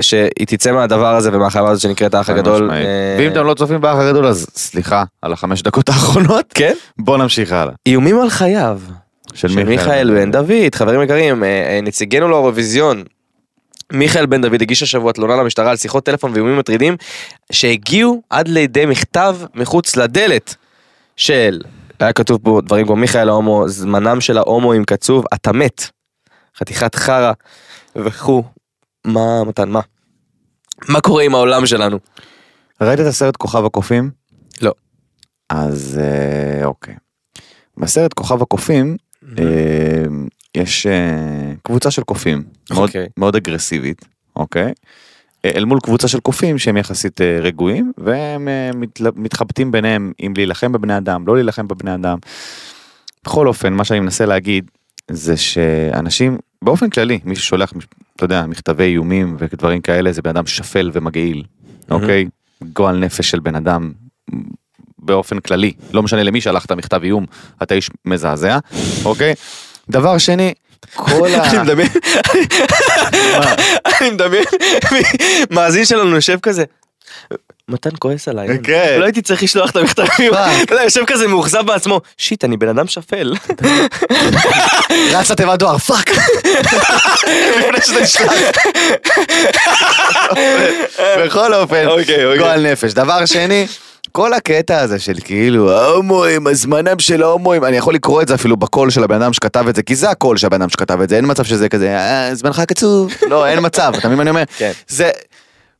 Speaker 3: ושהיא תצא מהדבר הזה ומהחברה הזאת שנקראת האח הגדול.
Speaker 2: משמעית.
Speaker 3: אה,
Speaker 2: ואם אתם לא צופים באח הגדול, אז סליחה על החמש דקות האחרונות.
Speaker 3: כן?
Speaker 2: בואו נמשיך הלאה.
Speaker 3: איומים על חייו. של מיכאל בן דוד, חברים יקרים, אה, אה, נציגנו לאירוויזיון. מיכאל בן דוד הגיש השבוע תלונה למשטרה על שיחות טלפון ואיומים מטרידים שהגיעו עד לידי מכתב מחוץ לדלת של, היה כתוב פה דברים כמו מיכאל ההומו, זמנם של ההומואים קצוב, אתה מת, חתיכת חרא וכו', מה מתן, מה? מה קורה עם העולם שלנו?
Speaker 2: ראית את הסרט כוכב הקופים?
Speaker 3: לא.
Speaker 2: אז אה, אוקיי. בסרט כוכב הקופים אה, יש אה, קבוצה של קופים מאוד-
Speaker 3: אוקיי.
Speaker 2: מאוד אגרסיבית, אוקיי? אה, אל מול קבוצה של קופים שהם יחסית אה, רגועים והם אה, מתל- מתחבטים ביניהם אם להילחם בבני אדם, לא להילחם בבני אדם. בכל אופן, מה שאני מנסה להגיד זה שאנשים, באופן כללי, מי ששולח, מש- אתה יודע, מכתבי איומים ודברים כאלה, זה בן אדם שפל ומגעיל, אוקיי? גועל נפש של בן אדם באופן כללי, לא משנה למי שלחת מכתב איום, אתה איש מזעזע, אוקיי? דבר שני, כל ה...
Speaker 3: אני מדמיין, אני מדמיין, מאזין שלנו יושב כזה. מתן כועס עליי,
Speaker 2: כן.
Speaker 3: לא הייתי צריך לשלוח את המכתבים,
Speaker 2: פאק.
Speaker 3: אתה יודע, יושב כזה מאוכזב בעצמו, שיט אני בן אדם שפל,
Speaker 2: רץ לתיבת דואר, פאק! לפני שזה נשלח. בכל אופן,
Speaker 3: אוקיי, אוקיי.
Speaker 2: גועל נפש. דבר שני, כל הקטע הזה של כאילו ההומואים, הזמנם של ההומואים, אני יכול לקרוא את זה אפילו בקול של הבן אדם שכתב את זה, כי זה הקול של הבן אדם שכתב את זה, אין מצב שזה כזה, "אה, זמנך קצוב. לא, אין מצב, אתה מבין מה אני אומר?
Speaker 3: כן.
Speaker 2: זה...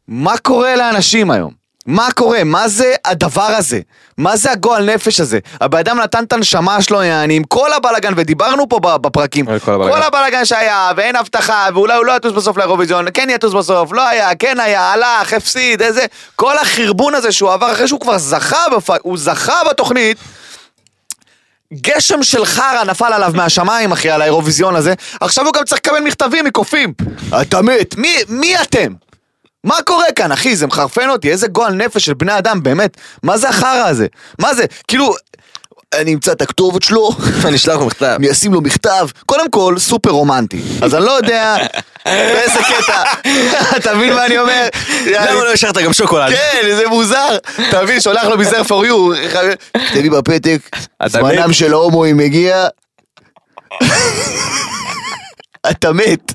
Speaker 2: מה קורה לאנשים היום? מה קורה? מה זה הדבר הזה? מה זה הגועל נפש הזה? הבן אדם נתן את הנשמה שלו, יעני, עם כל הבלאגן, ודיברנו פה ב- בפרקים.
Speaker 3: על אה, כל הבלגן.
Speaker 2: כל הבלאגן שהיה, ואין הבטחה, ואולי הוא לא יטוס בסוף לאירוויזיון, כן יטוס בסוף, לא היה, כן היה, הלך, הפסיד, איזה... כל החרבון הזה שהוא עבר אחרי שהוא כבר זכה, בפ... הוא זכה בתוכנית. גשם של חרא נפל עליו מהשמיים, אחי, על האירוויזיון הזה. עכשיו הוא גם צריך לקבל מכתבים מקופים. אתה מת, מי, מי אתם? מה קורה כאן, אחי? זה מחרפן אותי, איזה גועל נפש של בני אדם, באמת. מה זה החרא הזה? מה זה? כאילו, אני אמצא את הכתובת שלו,
Speaker 3: אני אשלח לו מכתב.
Speaker 2: אני אשים לו מכתב, קודם כל, סופר רומנטי. אז אני לא יודע באיזה קטע, אתה מבין מה אני אומר?
Speaker 3: למה לא השארת גם שוקולד?
Speaker 2: כן, זה מוזר. אתה מבין, שולח לו מזר for you. תביא בפתק,
Speaker 3: אתה
Speaker 2: זמנם
Speaker 3: מת.
Speaker 2: של ההומואים מגיע. אתה מת.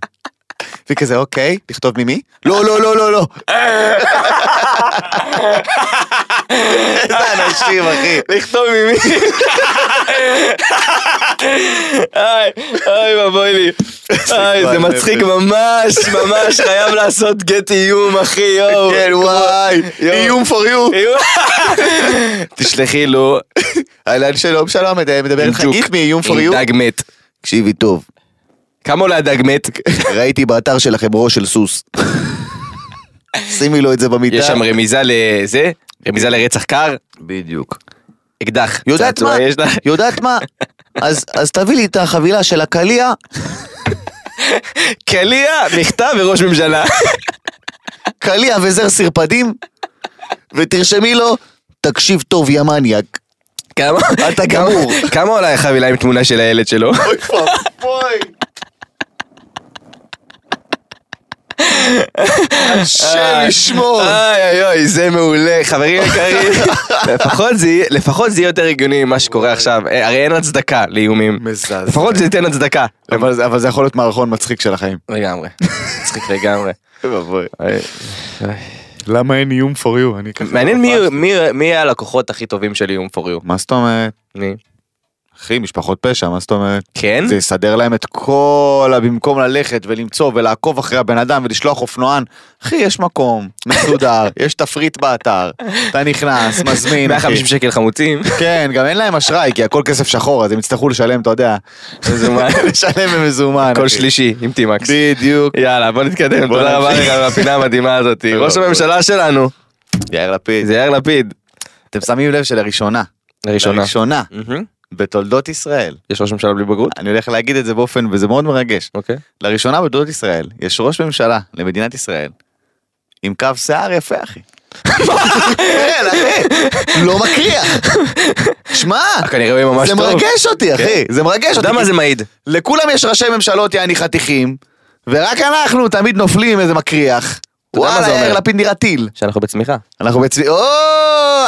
Speaker 2: וכזה, אוקיי, לכתוב ממי? לא, לא, לא, לא, לא. איזה אנשים, אחי.
Speaker 3: לכתוב ממי. היי, אוי ואבוי לי. היי, זה מצחיק ממש, ממש, חייב לעשות גט איום, אחי, יואו.
Speaker 2: כן, וואי, איום for you.
Speaker 3: איום. תשלחי לו
Speaker 2: אהלן שלום, שלום, אה, מדבר
Speaker 3: עם
Speaker 2: איתך
Speaker 3: ג'וק,
Speaker 2: גיף מאיום for
Speaker 3: עם
Speaker 2: you.
Speaker 3: דג מת.
Speaker 2: אה, תקשיבי טוב,
Speaker 3: כמה עולה הדג מת?
Speaker 2: ראיתי באתר שלכם ראש של סוס. שימי לו את זה במיטה.
Speaker 3: יש שם רמיזה לזה? רמיזה לרצח קר?
Speaker 2: בדיוק.
Speaker 3: אקדח.
Speaker 2: יודעת
Speaker 3: צעצוע
Speaker 2: מה?
Speaker 3: יש לה?
Speaker 2: יודעת מה? אז, אז תביא לי את החבילה של הקליע,
Speaker 3: קליע, מכתב וראש ממשלה.
Speaker 2: קליע וזר סרפדים, ותרשמי לו, תקשיב טוב יא מניאק.
Speaker 3: כמה?
Speaker 2: אתה
Speaker 3: כמה-
Speaker 2: גמור.
Speaker 3: כמה עולה החבילה עם תמונה של הילד שלו?
Speaker 2: אוי ואבוי. השם ישמור.
Speaker 3: אוי אה, אוי אוי, זה מעולה, חברים יקרים. לפחות זה יהיה- לפחות זה יהיה יותר הגיוני ממה שקורה עכשיו. אה, הרי אין הצדקה לאיומים.
Speaker 2: מזעזע.
Speaker 3: לפחות זה ייתן הצדקה.
Speaker 2: אבל, אבל זה יכול להיות מערכון מצחיק של החיים.
Speaker 3: לגמרי. מצחיק לגמרי.
Speaker 2: אוי ואבוי.
Speaker 3: אוי.
Speaker 2: למה אין איום for you? אני ככה...
Speaker 3: מעניין מי- מי- מי הלקוחות הכי טובים של איום פור יו.
Speaker 2: מה זאת אומרת?
Speaker 3: מי?
Speaker 2: אחי, משפחות פשע, מה זאת אומרת?
Speaker 3: כן?
Speaker 2: זה יסדר להם את כל ה... במקום ללכת ולמצוא ולעקוב אחרי הבן אדם ולשלוח אופנוען, אחי, יש מקום, מסודר, יש תפריט באתר, אתה נכנס, מזמין, אחי.
Speaker 3: 150 שקל חמוצים.
Speaker 2: כן, גם אין להם אשראי, כי הכל כסף שחור, אז הם יצטרכו לשלם, אתה יודע.
Speaker 3: מזומן.
Speaker 2: לשלם במזומן.
Speaker 3: כל
Speaker 2: אחי.
Speaker 3: שלישי עם טימקס.
Speaker 2: בדיוק.
Speaker 3: יאללה בוא נתקדם
Speaker 2: בוא
Speaker 3: תודה רבה לך
Speaker 2: נמשיך.
Speaker 3: על הפינה המדהימה הזאת
Speaker 2: תודה
Speaker 3: ראש
Speaker 2: רבה.
Speaker 3: הממשלה שלנו
Speaker 2: יאיר לפיד.
Speaker 3: זה יאיר לפיד.
Speaker 2: אתם שמים לב שלראשונה,
Speaker 3: לראשונה.
Speaker 2: לראשונה,
Speaker 3: מהמם.
Speaker 2: בתולדות ישראל,
Speaker 3: יש ראש ממשלה בלי בגרות?
Speaker 2: אני הולך להגיד את זה באופן, וזה מאוד מרגש,
Speaker 3: אוקיי.
Speaker 2: לראשונה בתולדות ישראל, יש ראש ממשלה למדינת ישראל, עם קו שיער יפה, אחי. כן, אחי, לא מקריח. שמע,
Speaker 3: אה, כנראה הוא יהיה ממש
Speaker 2: זה
Speaker 3: טוב. כן.
Speaker 2: מרגש אותי, אחי, זה מרגש
Speaker 3: אתה
Speaker 2: אותי.
Speaker 3: יודע מה זה מעיד?
Speaker 2: לכולם יש ראשי ממשלות יעני חתיכים, ורק אנחנו תמיד נופלים איזה מקריח.
Speaker 3: יודע מה
Speaker 2: וואלה,
Speaker 3: זה אומר?
Speaker 2: יאיר לפיד נראה טיל.
Speaker 3: שאנחנו בצמיחה.
Speaker 2: אנחנו בעצמי, או,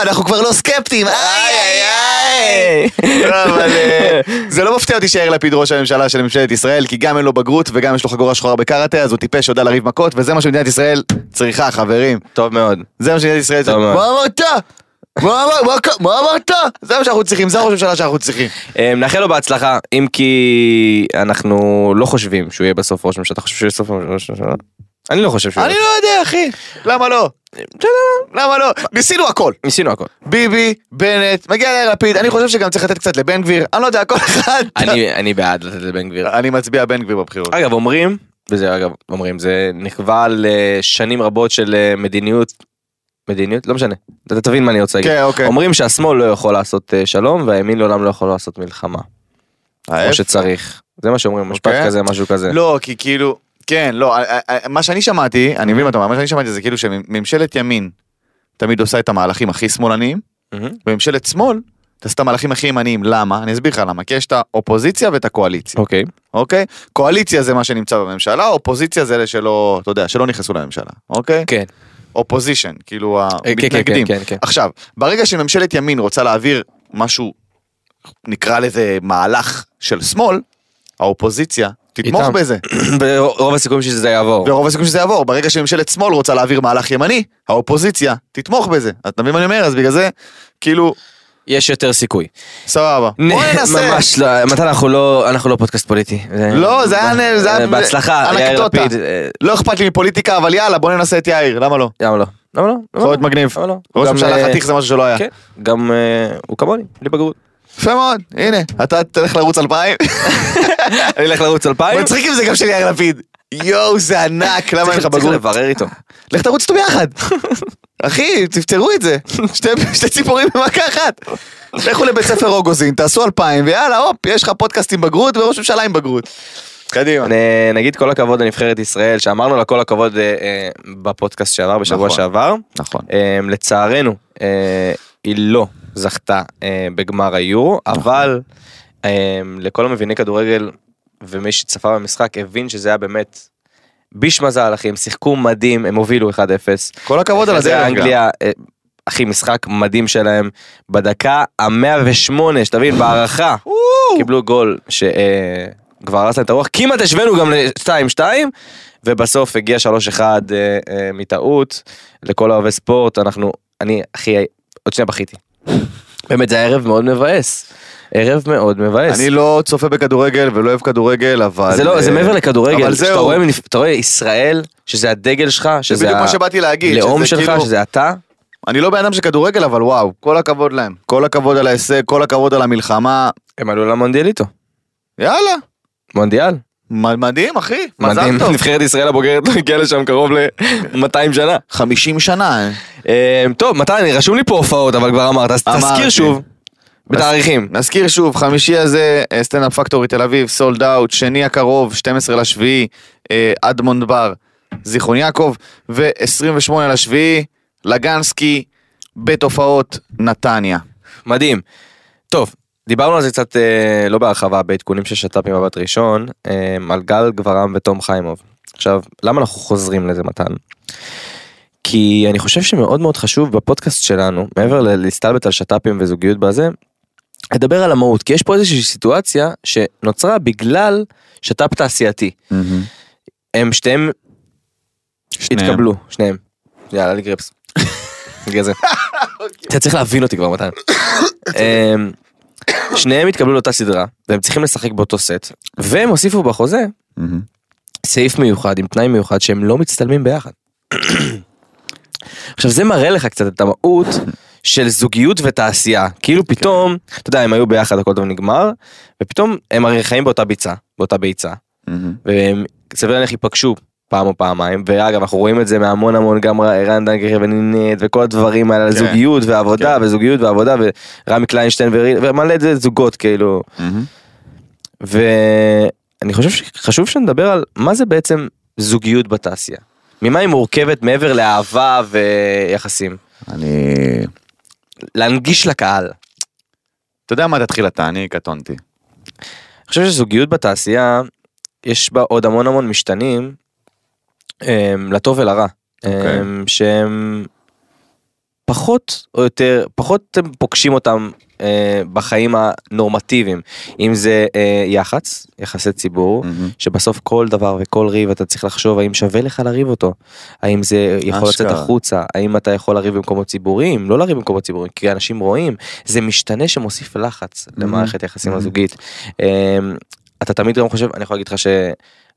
Speaker 2: אנחנו כבר לא סקפטיים, איי איי איי. לא, אבל אה, זה לא מפתיע אותי שיאיר לפיד ראש הממשלה של ממשלת ישראל, כי גם אין לו בגרות וגם יש לו חגורה שחורה בקראטה, אז הוא טיפש שיודע לריב מכות, וזה מה שמדינת ישראל צריכה, חברים.
Speaker 3: טוב מאוד.
Speaker 2: זה מה שמדינת ישראל
Speaker 3: טוב
Speaker 2: צריכה.
Speaker 3: מאוד.
Speaker 2: מה אמרת? מה אמר- מה ק- מה אמרת? זה מה שאנחנו צריכים, זה הראש הממשלה שאנחנו צריכים.
Speaker 3: אה, נאחל לו בהצלחה אם כי אנחנו לא חושבים שהוא יהיה בסוף ראש ממשלה. אתה חושב שהוא יהיה בסוף ראש ממשלה? אני לא חושב שהוא
Speaker 2: אני
Speaker 3: יהיה.
Speaker 2: לא יודע, אחי. למה לא? למה לא? ניסינו הכל.
Speaker 3: ניסינו הכל.
Speaker 2: ביבי, בנט, מגיע יאיר לפיד, אני חושב שגם צריך לתת קצת לבן גביר, אני לא יודע, כל אחד.
Speaker 3: אני- אני בעד לתת לבן גביר.
Speaker 2: אני מצביע בן גביר בבחירות.
Speaker 3: אגב אומרים, וזה אגב אומרים, זה נכווה על אה, שנים רבות של אה, מדיניות, מדיניות? לא משנה, אתה תבין מה אני רוצה להגיד.
Speaker 2: כן, אוקיי.
Speaker 3: אומרים שהשמאל לא יכול לעשות אה, שלום והימין לעולם לא יכול לעשות מלחמה,
Speaker 2: אה,
Speaker 3: כמו שצריך. זה מה שאומרים, משפט
Speaker 2: אוקיי.
Speaker 3: כזה, משהו כזה.
Speaker 2: לא, כי כאילו, כן, לא, א- א- א- מה שאני שמעתי, אני מבין מה אתה אומר, מה שאני שמעתי זה כאילו שממשלת ימין תמיד עושה את המהלכים הכי שמאלניים,
Speaker 3: מהמם.
Speaker 2: וממשלת שמאל תעשה את המהלכים הכי ימניים, למה? אני אסביר לך למה, כי יש את האופוזיציה ואת הקואליציה,
Speaker 3: אוקיי.
Speaker 2: אוקיי? קואליציה זה מה שנמצא בממשלה, אופוזיציה זה אלה שלא, אתה יודע, שלא נכנסו לממשלה, אוקיי?
Speaker 3: כן.
Speaker 2: אופוזישן, כאילו
Speaker 3: כן, כן,
Speaker 2: המתנגדים.
Speaker 3: כן, כן, כן.
Speaker 2: עכשיו, ברגע שממשלת ימין רוצה להעביר משהו, נקרא לזה מהלך של שמאל, האופוזיציה תתמוך
Speaker 3: איתם.
Speaker 2: בזה.
Speaker 3: ורוב הסיכויים שזה יעבור.
Speaker 2: ורוב הסיכויים שזה יעבור, ברגע שממשלת שמאל רוצה להעביר מהלך ימני, האופוזיציה תתמוך בזה. אתה מבין מה אני אומר? אז בגלל זה, כאילו,
Speaker 3: יש יותר סיכוי.
Speaker 2: סבבה. בוא ננסה.
Speaker 3: ממש לא, מתן אנחנו לא, אנחנו לא פודקאסט פוליטי.
Speaker 2: לא, זה היה-
Speaker 3: אה,
Speaker 2: זה היה-
Speaker 3: בהצלחה, יאיר
Speaker 2: אנקדוטה.
Speaker 3: לפיד. אה,
Speaker 2: לא אכפת לי מפוליטיקה, אבל יאללה, בוא ננסה את יאיר, למה לא?
Speaker 3: למה לא? למה לא? למה
Speaker 2: יכול להיות
Speaker 3: לא?
Speaker 2: מגניב.
Speaker 3: למה לא?
Speaker 2: ראש
Speaker 3: גם,
Speaker 2: ממשלה
Speaker 3: אה,
Speaker 2: חתיך זה משהו שלא היה.
Speaker 3: כן, גם אה, הוא כמוני, בלי בגרות.
Speaker 2: יפה מאוד, הנה, אתה תלך לרוץ אלפיים.
Speaker 3: אני אלך לרוץ אלפיים?
Speaker 2: מצחיק אם זה גם של יאיר לפיד. יואו, זה ענק, למה אין לך
Speaker 3: צריך
Speaker 2: בגרות?
Speaker 3: לברר איתו.
Speaker 2: לך תרוץ איתו ביחד. אחי, תפתרו את זה. שתי- שתי ציפורים במכה אחת. לכו לבית ספר רוגוזין, תעשו אלפיים, ויאללה, הופ, יש לך פודקאסט עם בגרות וראש ממשלה עם בגרות. קדימה.
Speaker 3: נ- נגיד כל הכבוד לנבחרת ישראל, שאמרנו לה כל הכבוד אה, אה, בפודקאסט שעבר, בשבוע
Speaker 2: נכון.
Speaker 3: שעבר.
Speaker 2: נכון.
Speaker 3: אה, לצערנו, אה, היא לא זכתה אה, בגמר היורו, אבל אה, לכל המביני כדורגל ומי שצפה במשחק הבין שזה היה באמת ביש מזל, אחי, הם שיחקו מדהים, הם הובילו 1-0.
Speaker 2: כל הכבוד על
Speaker 3: אחרי זה
Speaker 2: הדרך גם.
Speaker 3: אנגליה, אה, אחי, משחק מדהים שלהם. בדקה ה-108, שתבין, בהערכה, קיבלו גול שכבר הרס להם את הרוח. כמעט השווינו גם ל-2-2, ובסוף הגיע 3-1 אה, אה, מטעות. לכל אוהבי ספורט, אנחנו, אני, אחי, עוד שנייה בכיתי. באמת, זה היה ערב מאוד מבאס. ערב מאוד מבאס.
Speaker 2: אני לא צופה בכדורגל ולא אוהב כדורגל, אבל...
Speaker 3: זה לא, זה
Speaker 2: אה,
Speaker 3: מעבר לכדורגל,
Speaker 2: אבל
Speaker 3: שאתה
Speaker 2: זהו.
Speaker 3: רואה מנפ- אתה רואה ישראל, שזה הדגל שלך,
Speaker 2: זה
Speaker 3: שזה
Speaker 2: בדיוק מה שבאתי להגיד.
Speaker 3: הלאום
Speaker 2: שזה
Speaker 3: שלך,
Speaker 2: כאילו-
Speaker 3: שזה אתה.
Speaker 2: אני לא בן אדם של כדורגל, אבל וואו, כל הכבוד להם. כל הכבוד על ההישג, כל הכבוד על המלחמה.
Speaker 3: הם עלו למונדיאל איתו.
Speaker 2: יאללה,
Speaker 3: מונדיאל.
Speaker 2: מ- מדהים אחי,
Speaker 3: מדהים.
Speaker 2: מזל טוב.
Speaker 3: נבחרת ישראל הבוגרת לא הגיעה לשם קרוב ל-200 שנה.
Speaker 2: 50 שנה.
Speaker 3: אה, טוב, מתן, רשום לי פה הופעות, אבל כבר אמרת, אז תזכיר
Speaker 2: אמרתי.
Speaker 3: שוב. בתאריכים.
Speaker 2: נזכיר שוב, חמישי הזה, אה, סטנדאפ פקטורי תל אביב, סולד אאוט, שני הקרוב, 12 לשביעי, אה, אדמונד בר, זיכרון יעקב, ו-28 לשביעי, לגנסקי, בית הופעות, נתניה.
Speaker 3: מדהים. טוב, דיברנו על זה קצת, אה, לא בהרחבה, בעדכונים של שת"פ עם מבט ראשון, אה, על גל גברם ותום חיימוב. עכשיו, למה אנחנו חוזרים לזה, מתן? כי אני חושב שמאוד מאוד חשוב בפודקאסט שלנו, מעבר ל- להסתלבט על שת"פים וזוגיות בזה, לדבר על המהות, כי יש פה איזושהי סיטואציה שנוצרה בגלל שת"פ תעשייתי. הם שתיהם התקבלו, שניהם. יאללה, לי גריפס. בגלל זה. אתה צריך להבין אותי כבר מתן. אמ, שניהם התקבלו לאותה סדרה, והם צריכים לשחק באותו סט, והם הוסיפו בחוזה
Speaker 2: מהמם.
Speaker 3: סעיף מיוחד עם תנאי מיוחד שהם לא מצטלמים ביחד. עכשיו זה מראה לך קצת את המהות של זוגיות ותעשייה. כאילו פתאום, אתה יודע, הם היו ביחד, הכל טוב נגמר, ופתאום הם הרי חיים באותה ביצה, באותה ביצה.
Speaker 2: מהמם.
Speaker 3: והם סביר להניח ייפגשו פעם או פעמיים ואגב אנחנו רואים את זה מהמון המון גם רן דנקר ונינט וכל הדברים האלה על
Speaker 2: כן.
Speaker 3: זוגיות ועבודה וזוגיות ועבודה ורמי קליינשטיין וריל- ומלא את זה זוגות כאילו
Speaker 2: מהמם.
Speaker 3: ואני חושב שחשוב שנדבר על מה זה בעצם זוגיות בתעשייה ממה היא מורכבת מעבר לאהבה ויחסים
Speaker 2: אני...
Speaker 3: להנגיש לקהל. אני
Speaker 2: אתה יודע מה תתחיל אתה, אני קטונתי.
Speaker 3: חושב שזוגיות בתעשייה יש בה עוד המון המון משתנים אמ, לטוב ולרע
Speaker 2: אוקיי.
Speaker 3: אמ, שהם פחות או יותר פחות אתם פוגשים אותם אה, בחיים הנורמטיביים אם זה אה, יח"צ יחסי ציבור.
Speaker 2: מהמם.
Speaker 3: שבסוף כל דבר וכל ריב אתה צריך לחשוב האם שווה לך לריב אותו, האם זה יכול לצאת
Speaker 2: אשכרה.
Speaker 3: החוצה, האם אתה יכול לריב במקומות ציבוריים, לא לריב במקומות ציבוריים, כי אנשים רואים, זה משתנה שמוסיף לחץ למערכת היחסים
Speaker 2: מהמם.
Speaker 3: הזוגית. אמ, אתה תמיד גם חושב, אני יכול להגיד לך ש...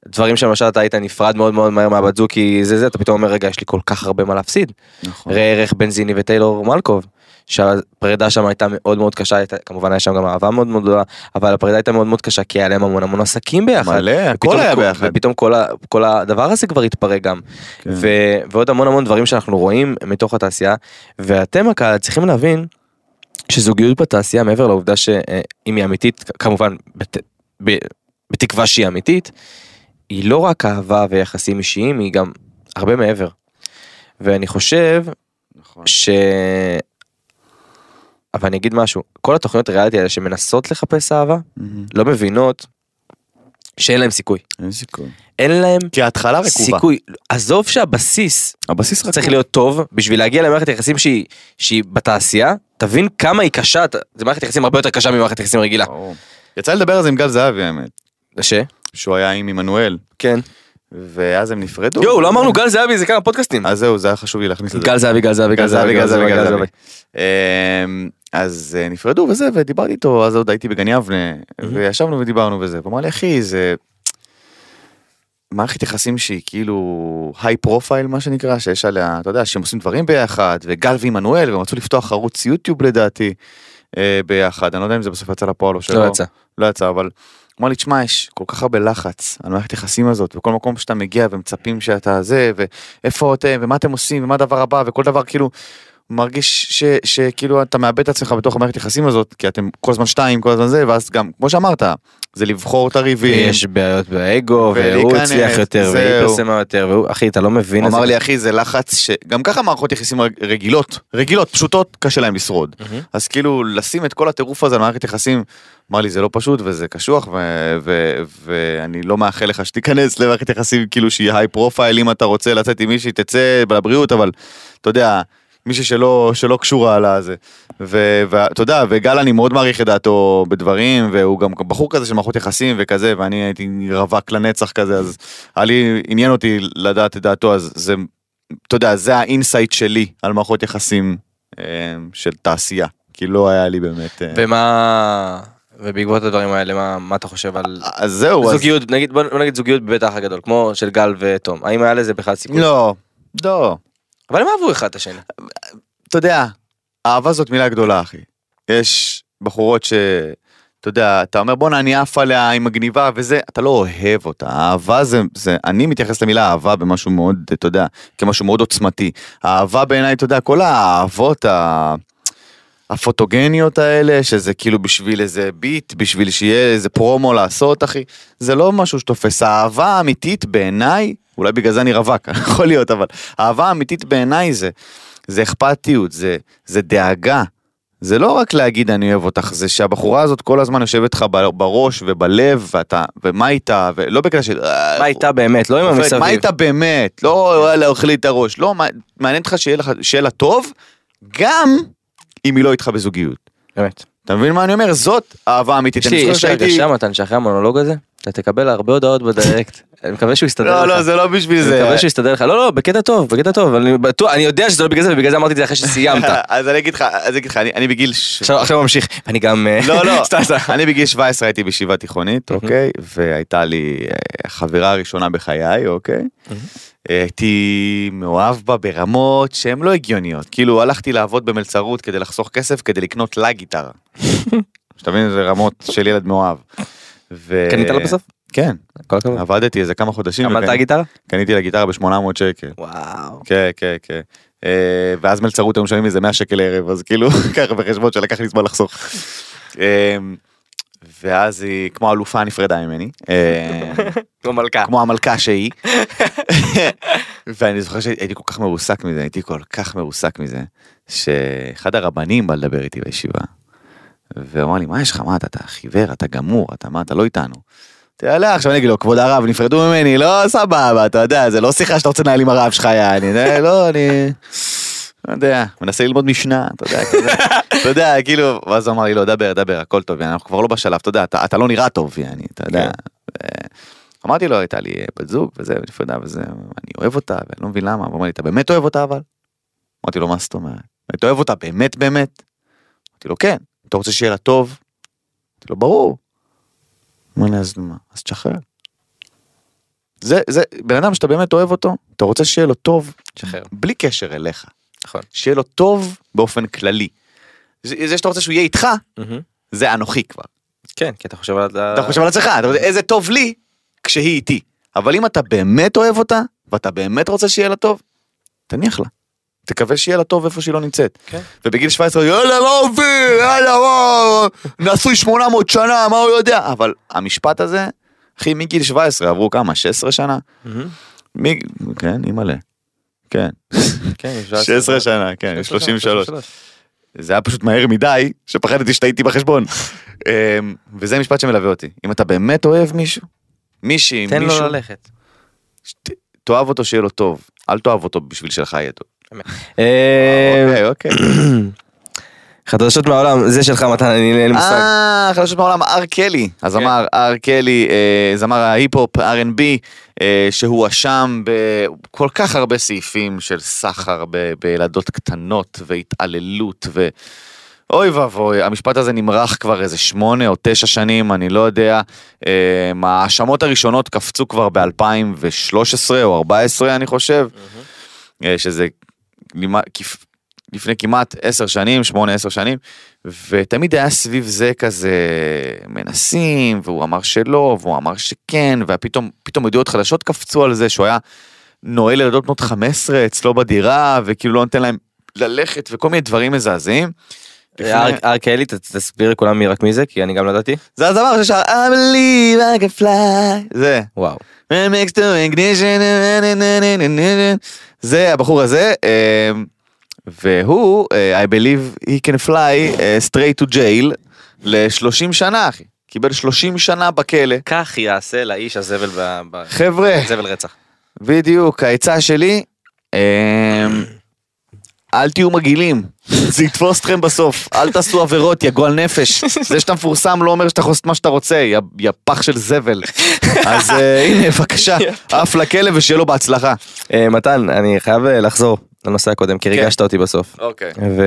Speaker 3: דברים שלמשל אתה היית נפרד מאוד מאוד מהר מהבת זוג כי זה זה אתה פתאום אומר רגע יש לי כל כך הרבה מה להפסיד.
Speaker 2: נכון.
Speaker 3: ראה ערך בנזיני וטיילור מלקוב שהפרידה שם הייתה מאוד מאוד קשה הייתה, כמובן היה שם גם אהבה מאוד מאוד גדולה אבל הפרידה הייתה מאוד מאוד קשה כי היה להם המון המון עסקים ביחד.
Speaker 2: מלא,
Speaker 3: ופתאום
Speaker 2: הכל היה
Speaker 3: כל-
Speaker 2: ביחד.
Speaker 3: ופתאום כל, ה, כל הדבר הזה כבר התפרק גם.
Speaker 2: כן.
Speaker 3: ו, ועוד המון המון דברים שאנחנו רואים מתוך התעשייה ואתם הקהל צריכים להבין שזוגיות בתעשייה מעבר לעובדה שאם היא אמיתית כ- כמובן בת, ב, בתקווה שהיא אמיתית היא לא רק אהבה ויחסים אישיים היא גם הרבה מעבר. ואני חושב
Speaker 2: נכון.
Speaker 3: ש... אבל אני אגיד משהו, כל התוכניות ריאליטי האלה שמנסות לחפש אהבה,
Speaker 2: מהמם.
Speaker 3: לא מבינות שאין להם סיכוי.
Speaker 2: אין סיכוי.
Speaker 3: אין להם
Speaker 2: כי ההתחלה רקובה.
Speaker 3: סיכוי. עזוב שהבסיס
Speaker 2: הבסיס רקוב.
Speaker 3: צריך להיות טוב בשביל להגיע למערכת יחסים שהיא, שהיא בתעשייה, תבין כמה היא קשה, אתה- זה מערכת יחסים הרבה יותר קשה ממערכת יחסים רגילה.
Speaker 2: ברור. יצא לי לדבר על זה עם גל זהבי האמת,
Speaker 3: ש?
Speaker 2: שהוא היה עם עמנואל,
Speaker 3: כן.
Speaker 2: ואז הם נפרדו.
Speaker 3: יואו, לא אמרנו גל זהבי, זה כמה פודקאסטים.
Speaker 2: אז זהו, זה היה חשוב לי להכניס את אה, זה.
Speaker 3: גל זהבי, גל זהבי, גל זהבי, גל זהבי, גל זהבי.
Speaker 2: אמ, אז אה, נפרדו וזה, ודיברתי איתו, אז עוד הייתי בגן יבנה,
Speaker 3: Mm-hmm.
Speaker 2: וישבנו ודיברנו וזה, והוא אמר לי, אחי, זה מערכת יחסים שהיא כאילו היי פרופייל, מה שנקרא, שיש עליה, אתה יודע, שהם עושים דברים ביחד, וגל ועמנואל, והם רצו לפתוח ערוץ יוטיוב לדעתי, אה, ביחד, אני לא יודע אם זה בסוף יצא לפועל או שלא.
Speaker 3: לא יצא.
Speaker 2: לא יצא, אבל הוא אמר לי, תשמע, יש כל כך הרבה לחץ על מערכת היחסים הזאת, וכל מקום שאתה מגיע ומצפים שאתה זה, ואיפה אתם, ומה אתם עושים, ומה הדבר הבא, וכל דבר כאילו, הוא מרגיש ש, שכאילו אתה מאבד את עצמך בתוך המערכת יחסים הזאת, כי אתם כל הזמן שתיים, כל הזמן זה, ואז גם, כמו שאמרת, זה לבחור את הריבים.
Speaker 3: יש בעיות באגו, והוא
Speaker 2: ולהיכנס,
Speaker 3: הצליח יותר,
Speaker 2: זהו.
Speaker 3: והיא פרסמה יותר, והוא, אחי, אתה לא מבין
Speaker 2: הוא
Speaker 3: את זה.
Speaker 2: אמר לי אחי זה לחץ שגם ככה מערכות יחסים רג- רגילות רגילות פשוטות קשה להם לשרוד
Speaker 3: מהמם.
Speaker 2: אז כאילו לשים את כל הטירוף הזה על מערכת יחסים אמר לי זה לא פשוט וזה קשוח ו- ו- ואני לא מאחל לך שתיכנס למערכת יחסים כאילו שהיא היי פרופייל אם אתה רוצה לצאת עם מישהי תצא לבריאות אבל אתה יודע מישהי שלא שלא קשורה על הזה ואתה יודע וגל אני מאוד מעריך את דעתו בדברים והוא גם בחור כזה של מערכות יחסים וכזה ואני הייתי רווק לנצח כזה אז היה לי עניין אותי לדעת את דעתו אז זה אתה יודע זה האינסייט שלי על מערכות יחסים אה, של תעשייה כי לא היה לי באמת. אה,
Speaker 3: ומה... ובעקבות הדברים האלה, מה, מה אתה חושב על...
Speaker 2: אז זהו אה, אז
Speaker 3: זוגיות, נגיד, בוא בוא נגיד זוגיות בבית האח הגדול, כמו של גל ותום, האם היה לזה בכלל סיכוי?
Speaker 2: לא לא
Speaker 3: אבל הם אהבו אחד את השני.
Speaker 2: אתה יודע אהבה זאת מילה גדולה אחי יש בחורות ש. אתה יודע, אתה אומר בואנה אני עף עליה, היא מגניבה וזה, אתה לא אוהב אותה. אהבה זה, זה, אני מתייחס למילה אהבה במשהו מאוד, אתה יודע, כמשהו מאוד עוצמתי. אהבה בעיניי, אתה יודע, כל האהבות ה... הפוטוגניות האלה, שזה כאילו בשביל איזה ביט, בשביל שיהיה איזה פרומו לעשות, אחי, זה לא משהו שתופס. האהבה האמיתית בעיניי, אולי בגלל זה אני רווק, יכול להיות, אבל האהבה האמיתית בעיניי זה, זה אכפתיות, זה, זה דאגה. זה לא רק להגיד אני אוהב אותך, זה שהבחורה הזאת כל הזמן יושבת לך ב- בראש ובלב, ואתה, ומה איתה, ולא בקטע של...
Speaker 3: מה הייתה באמת, לא עם
Speaker 2: עובד,
Speaker 3: המסביב.
Speaker 2: מה הייתה באמת? לא, וואלה, אוכל לי את הראש. לא, מה- מעניין אותך שיהיה לך, שיהיה לה טוב, גם אם היא לא איתך בזוגיות.
Speaker 3: באמת.
Speaker 2: אתה מבין מה אני אומר? זאת אהבה אמיתית.
Speaker 3: יש לי
Speaker 2: אני זוכר
Speaker 3: יש לי
Speaker 2: שהייתי-
Speaker 3: הרגשה, מתן, שאחרי המונולוג הזה, אתה תקבל הרבה הודעות בדירקט. אני מקווה שהוא יסתדר לך.
Speaker 2: לא, לא, זה לא בשביל
Speaker 3: אני
Speaker 2: זה.
Speaker 3: מקווה שהוא יסתדר לך. לא, לא, בקטע טוב, בקטע טוב. אני בטוח, אני יודע שזה לא בגלל זה, ובגלל זה אמרתי את זה אחרי שסיימת.
Speaker 2: אה, אז אני אגיד לך, אז אני אגיד לך, אני- אני בגיל... ש-
Speaker 3: עכשיו עכשיו ממשיך. אני גם... אה,
Speaker 2: לא, לא,
Speaker 3: סתם, סתם.
Speaker 2: אני בגיל 17 הייתי בישיבה תיכונית, אוקיי? והייתה לי אה, חברה ראשונה בחיי, אוקיי? הייתי מאוהב בה ברמות שהן לא הגיוניות. כאילו, הלכתי לעבוד במלצרות כדי לחסוך כסף, כדי לקנות לה גיטרה. שאתה מבין, זה רמות של ילד מאוהב. ו-
Speaker 3: קנית לה בסוף? אוקיי.
Speaker 2: כן,
Speaker 3: כל הכבוד.
Speaker 2: עבדתי איזה כמה חודשים.
Speaker 3: עמדת
Speaker 2: וקניתי-
Speaker 3: הגיטרה?
Speaker 2: קניתי לה גיטרה ב-800 שקל.
Speaker 3: וואו.
Speaker 2: כן, כן, כן. אה, ואז מלצרות היו משלמים איזה 100 שקל לערב, אז כאילו, ככה בחשבון שלקח לי זמן לחסוך. אה, ואז היא, כמו אלופה, נפרדה ממני. אה,
Speaker 3: כמו מלכה.
Speaker 2: כמו המלכה שהיא. ואני זוכר שהייתי כל כך מרוסק מזה, הייתי כל כך מרוסק מזה, שאחד הרבנים בא לדבר איתי בישיבה, ואמר לי, מה יש לך, מה אתה, אתה חיוור, אתה גמור, אתה מה, אתה לא איתנו. תעלה עכשיו אני אגיד לו, כבוד הרב, נפרדו ממני, לא, סבבה, אתה יודע, זה לא שיחה שאתה רוצה לנהל עם הרב שלך, יעני, זה לא, אני... לא יודע, מנסה ללמוד משנה, אתה יודע, כזה, אתה יודע, כאילו, ואז הוא אמר לי, לא, דבר, דבר, הכל טוב, יעני, אנחנו כבר לא בשלב, אתה יודע, אתה, אתה לא נראה טוב, יעני, אתה יודע. ו- אמרתי לו, הייתה לי אה, בת זוג, וזה, ונפרדה, וזה, אני אוהב אותה, ואני לא מבין למה, הוא אמר לי, אתה באמת אוהב אותה אבל? אמרתי לו, מה זאת אומרת? אתה אוהב אותה באמת באמת? אמרתי לו, כן, אתה רוצה שיהיה לה טוב? אמרתי לו, ברור. הוא אמר לי, אז מה, אז תשחרר. זה, זה, בן אדם שאתה באמת אוהב אותו, אתה רוצה שיהיה לו טוב,
Speaker 3: שחרר.
Speaker 2: בלי קשר אליך.
Speaker 3: נכון.
Speaker 2: שיהיה לו טוב באופן כללי. זה, זה שאתה רוצה שהוא יהיה איתך, זה אנוכי כבר.
Speaker 3: כן, כי אתה חושב על... ה-
Speaker 2: אתה חושב על עצמך, אתה יודע, איזה טוב לי כשהיא איתי. אבל אם אתה באמת אוהב אותה, ואתה באמת רוצה שיהיה לה טוב, תניח לה. תקווה שיהיה לה טוב איפה שהיא לא נמצאת.
Speaker 3: כן.
Speaker 2: ובגיל 17, יאללה, מה הוביל? יאללה, וואו, נשוי 800 שנה, מה הוא יודע? אבל המשפט הזה, אחי, מגיל 17, עברו כמה? 16 שנה?
Speaker 3: מהמם.
Speaker 2: מי... כן, אימא'לה. כן.
Speaker 3: כן, יש
Speaker 2: 16 שנה, כן, 33. זה היה פשוט מהר מדי, שפחדתי שטעיתי בחשבון. אמ, וזה משפט שמלווה אותי. אם אתה באמת אוהב מישהו, מישהי,
Speaker 3: תן לו
Speaker 2: מישהו,
Speaker 3: ללכת.
Speaker 2: שת- תאהב אותו שיהיה לו טוב, אל תאהב אותו בשביל שלך יהיה טוב. אוקיי,
Speaker 3: אה,
Speaker 2: אוקיי.
Speaker 3: חדשות מהעולם, זה שלך מתן, אני אין לי מושג. כן.
Speaker 2: אה, חדשות מעולם, הר קלי, הזמר הר קלי, אה, זמר ההיפ-הופ, R&B, אה, שהואשם בכל כך הרבה סעיפים של סחר ב- בילדות קטנות והתעללות ו... אוי ואבוי, המשפט הזה נמרח כבר איזה שמונה או תשע שנים, אני לא יודע. אה, ההאשמות הראשונות קפצו כבר ב-2013 או 2014, אני חושב, אה, שזה לימה- כפ- לפני כמעט עשר שנים, שמונה עשר שנים, ותמיד היה סביב זה כזה מנסים, והוא אמר שלא, והוא אמר שכן, ופתאום פתאום עדויות חדשות קפצו על זה שהוא היה נועל ילדות בנות 15 אצלו בדירה, וכאילו לא נותן להם ללכת וכל מיני דברים מזעזעים. לפני-
Speaker 3: הר קהלי, ת- תסביר לכולם מי רק מי זה, כי אני גם לא ידעתי.
Speaker 2: זה הזמר ששר I believe I can fly זה
Speaker 3: וואו.
Speaker 2: remix to ignition זה הבחור הזה אה, והוא אה, I believe he can fly אה, straight to jail ל-30 שנה אחי קיבל 30 שנה בכלא
Speaker 3: כך יעשה לאיש הזבל ב... ב-
Speaker 2: חבר'ה
Speaker 3: זבל רצח.
Speaker 2: בדיוק, העצה שלי, אמ, אל תהיו מגעילים, זה יתפוס אתכם בסוף, אל תעשו עבירות, יא גועל נפש. זה שאתה מפורסם לא אומר שאתה יכול לעשות מה שאתה רוצה, יא- יא פח של זבל. אז אה, הנה, בבקשה, עף לכלא ושיהיה לו בהצלחה.
Speaker 3: אה, מתן, אני חייב אה, לחזור לנושא הקודם, כי ריגשת אותי בסוף.
Speaker 2: אוקיי.
Speaker 3: ו...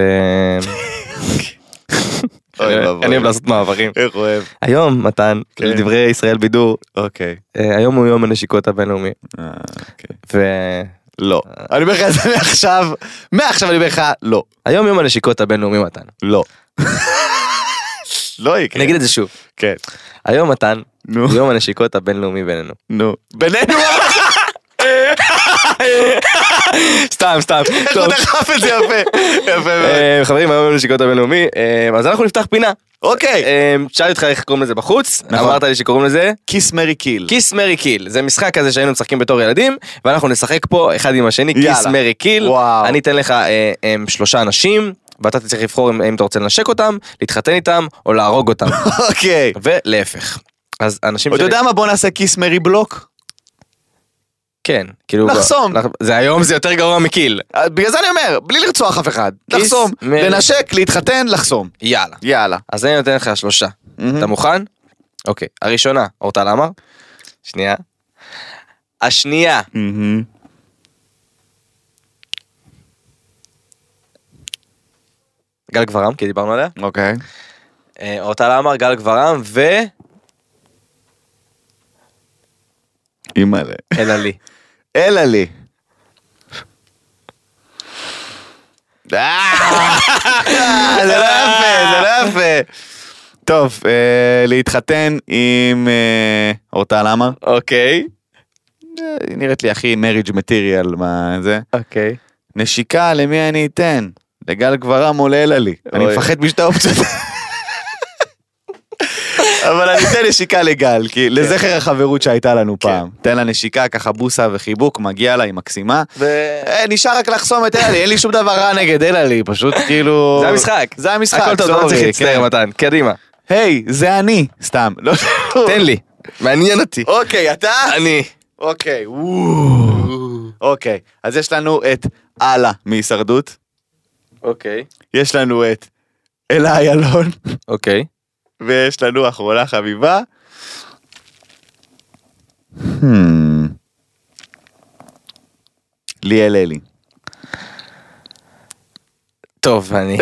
Speaker 3: אה, אני אוהב לעשות מעברים.
Speaker 2: איך אוהב.
Speaker 3: היום, מתן,
Speaker 2: כן.
Speaker 3: לדברי ישראל בידור,
Speaker 2: אוקיי.
Speaker 3: אה, היום הוא יום הנשיקות הבינלאומי.
Speaker 2: אה, אוקיי.
Speaker 3: והיום
Speaker 2: לא.
Speaker 3: אה.
Speaker 2: אני אומר לך את זה מעכשיו, מעכשיו אני אומר לך, לא.
Speaker 3: יום הנשיקות הבינלאומי, מתן.
Speaker 2: לא. לא יקרה.
Speaker 3: אני אגיד את זה שוב.
Speaker 2: כן.
Speaker 3: היום, מתן,
Speaker 2: נו.
Speaker 3: יום הנשיקות הבינלאומי בינינו.
Speaker 2: נו. בינינו
Speaker 3: סתם, סתם.
Speaker 2: איך
Speaker 3: טוב.
Speaker 2: הוא דחף את זה יפה. יפה מאוד.
Speaker 3: אה, חברים, היום יום הנשיקות הבינלאומי, אה, אז אנחנו נפתח פינה.
Speaker 2: אוקיי.
Speaker 3: אה, שאלתי אותך איך קוראים לזה בחוץ,
Speaker 2: נכון.
Speaker 3: אמרת לי שקוראים לזה
Speaker 2: כיס מרי קיל.
Speaker 3: כיס מרי קיל. זה משחק כזה שהיינו משחקים בתור ילדים, ואנחנו נשחק פה אחד עם השני, כיס
Speaker 2: יאללה.
Speaker 3: מרי קיל.
Speaker 2: וואו.
Speaker 3: אני אתן לך אה, אה, שלושה אנשים, ואתה תצטרך לבחור אם, אם אתה רוצה לנשק אותם, להתחתן איתם, או להרוג אותם,
Speaker 2: אוקיי.
Speaker 3: ולהפך. אז אנשים
Speaker 2: אתה יודע מה? בוא נעשה כיס מרי בלוק.
Speaker 3: כן, כאילו...
Speaker 2: לחסום.
Speaker 3: לח- זה היום זה יותר גרוע מקיל.
Speaker 2: אה, בגלל זה אני אומר, בלי לרצוח אף אחד.
Speaker 3: כיס
Speaker 2: לחסום.
Speaker 3: מרי.
Speaker 2: לנשק, להתחתן, לחסום.
Speaker 3: יאללה.
Speaker 2: יאללה.
Speaker 3: אז אני נותן לך שלושה.
Speaker 2: מהמם.
Speaker 3: אתה מוכן? אוקיי. הראשונה, אורטל עמר. שנייה. השנייה, גל גברם, כי דיברנו עליה.
Speaker 2: אוקיי.
Speaker 3: אה, אורטל עמר, גל גברם ו...
Speaker 2: אימא'לה.
Speaker 3: אלה לי.
Speaker 2: אלא לי. אה, זה לא יפה, זה לא יפה. טוב, אה, להתחתן עם אה, אורטל עמר.
Speaker 3: אוקיי.
Speaker 2: אה, היא נראית לי הכי מריג' מטיריאל מה זה.
Speaker 3: אוקיי.
Speaker 2: נשיקה למי אני אתן? לגל גברם או לאלה לי. אני
Speaker 3: אוי.
Speaker 2: מפחד משתי האופציות. אבל אני אתן נשיקה לגל, כי
Speaker 3: כן.
Speaker 2: לזכר החברות שהייתה לנו פעם. תן לה נשיקה, ככה בוסה וחיבוק, מגיע לה, היא מקסימה. אה, נשאר רק לחסום את אלה לי, אין לי שום דבר רע נגד אלה לי, פשוט כאילו...
Speaker 3: זה המשחק.
Speaker 2: זה המשחק,
Speaker 3: הכל טוב, אתה לא
Speaker 2: סורי,
Speaker 3: צריך להצטער
Speaker 2: כן.
Speaker 3: מתן. קדימה.
Speaker 2: היי, זה אני. סתם. לא-
Speaker 3: תן לי. מעניין אותי.
Speaker 2: אוקיי, אתה?
Speaker 3: אני.
Speaker 2: אוקיי, וואו. אוקיי, אז יש לנו את אללה מהישרדות.
Speaker 3: אוקיי.
Speaker 2: יש לנו את אלה איילון,
Speaker 3: אוקיי.
Speaker 2: ויש לנו אחרונה חביבה. Hmm. ליאל אלי.
Speaker 3: טוב, אני...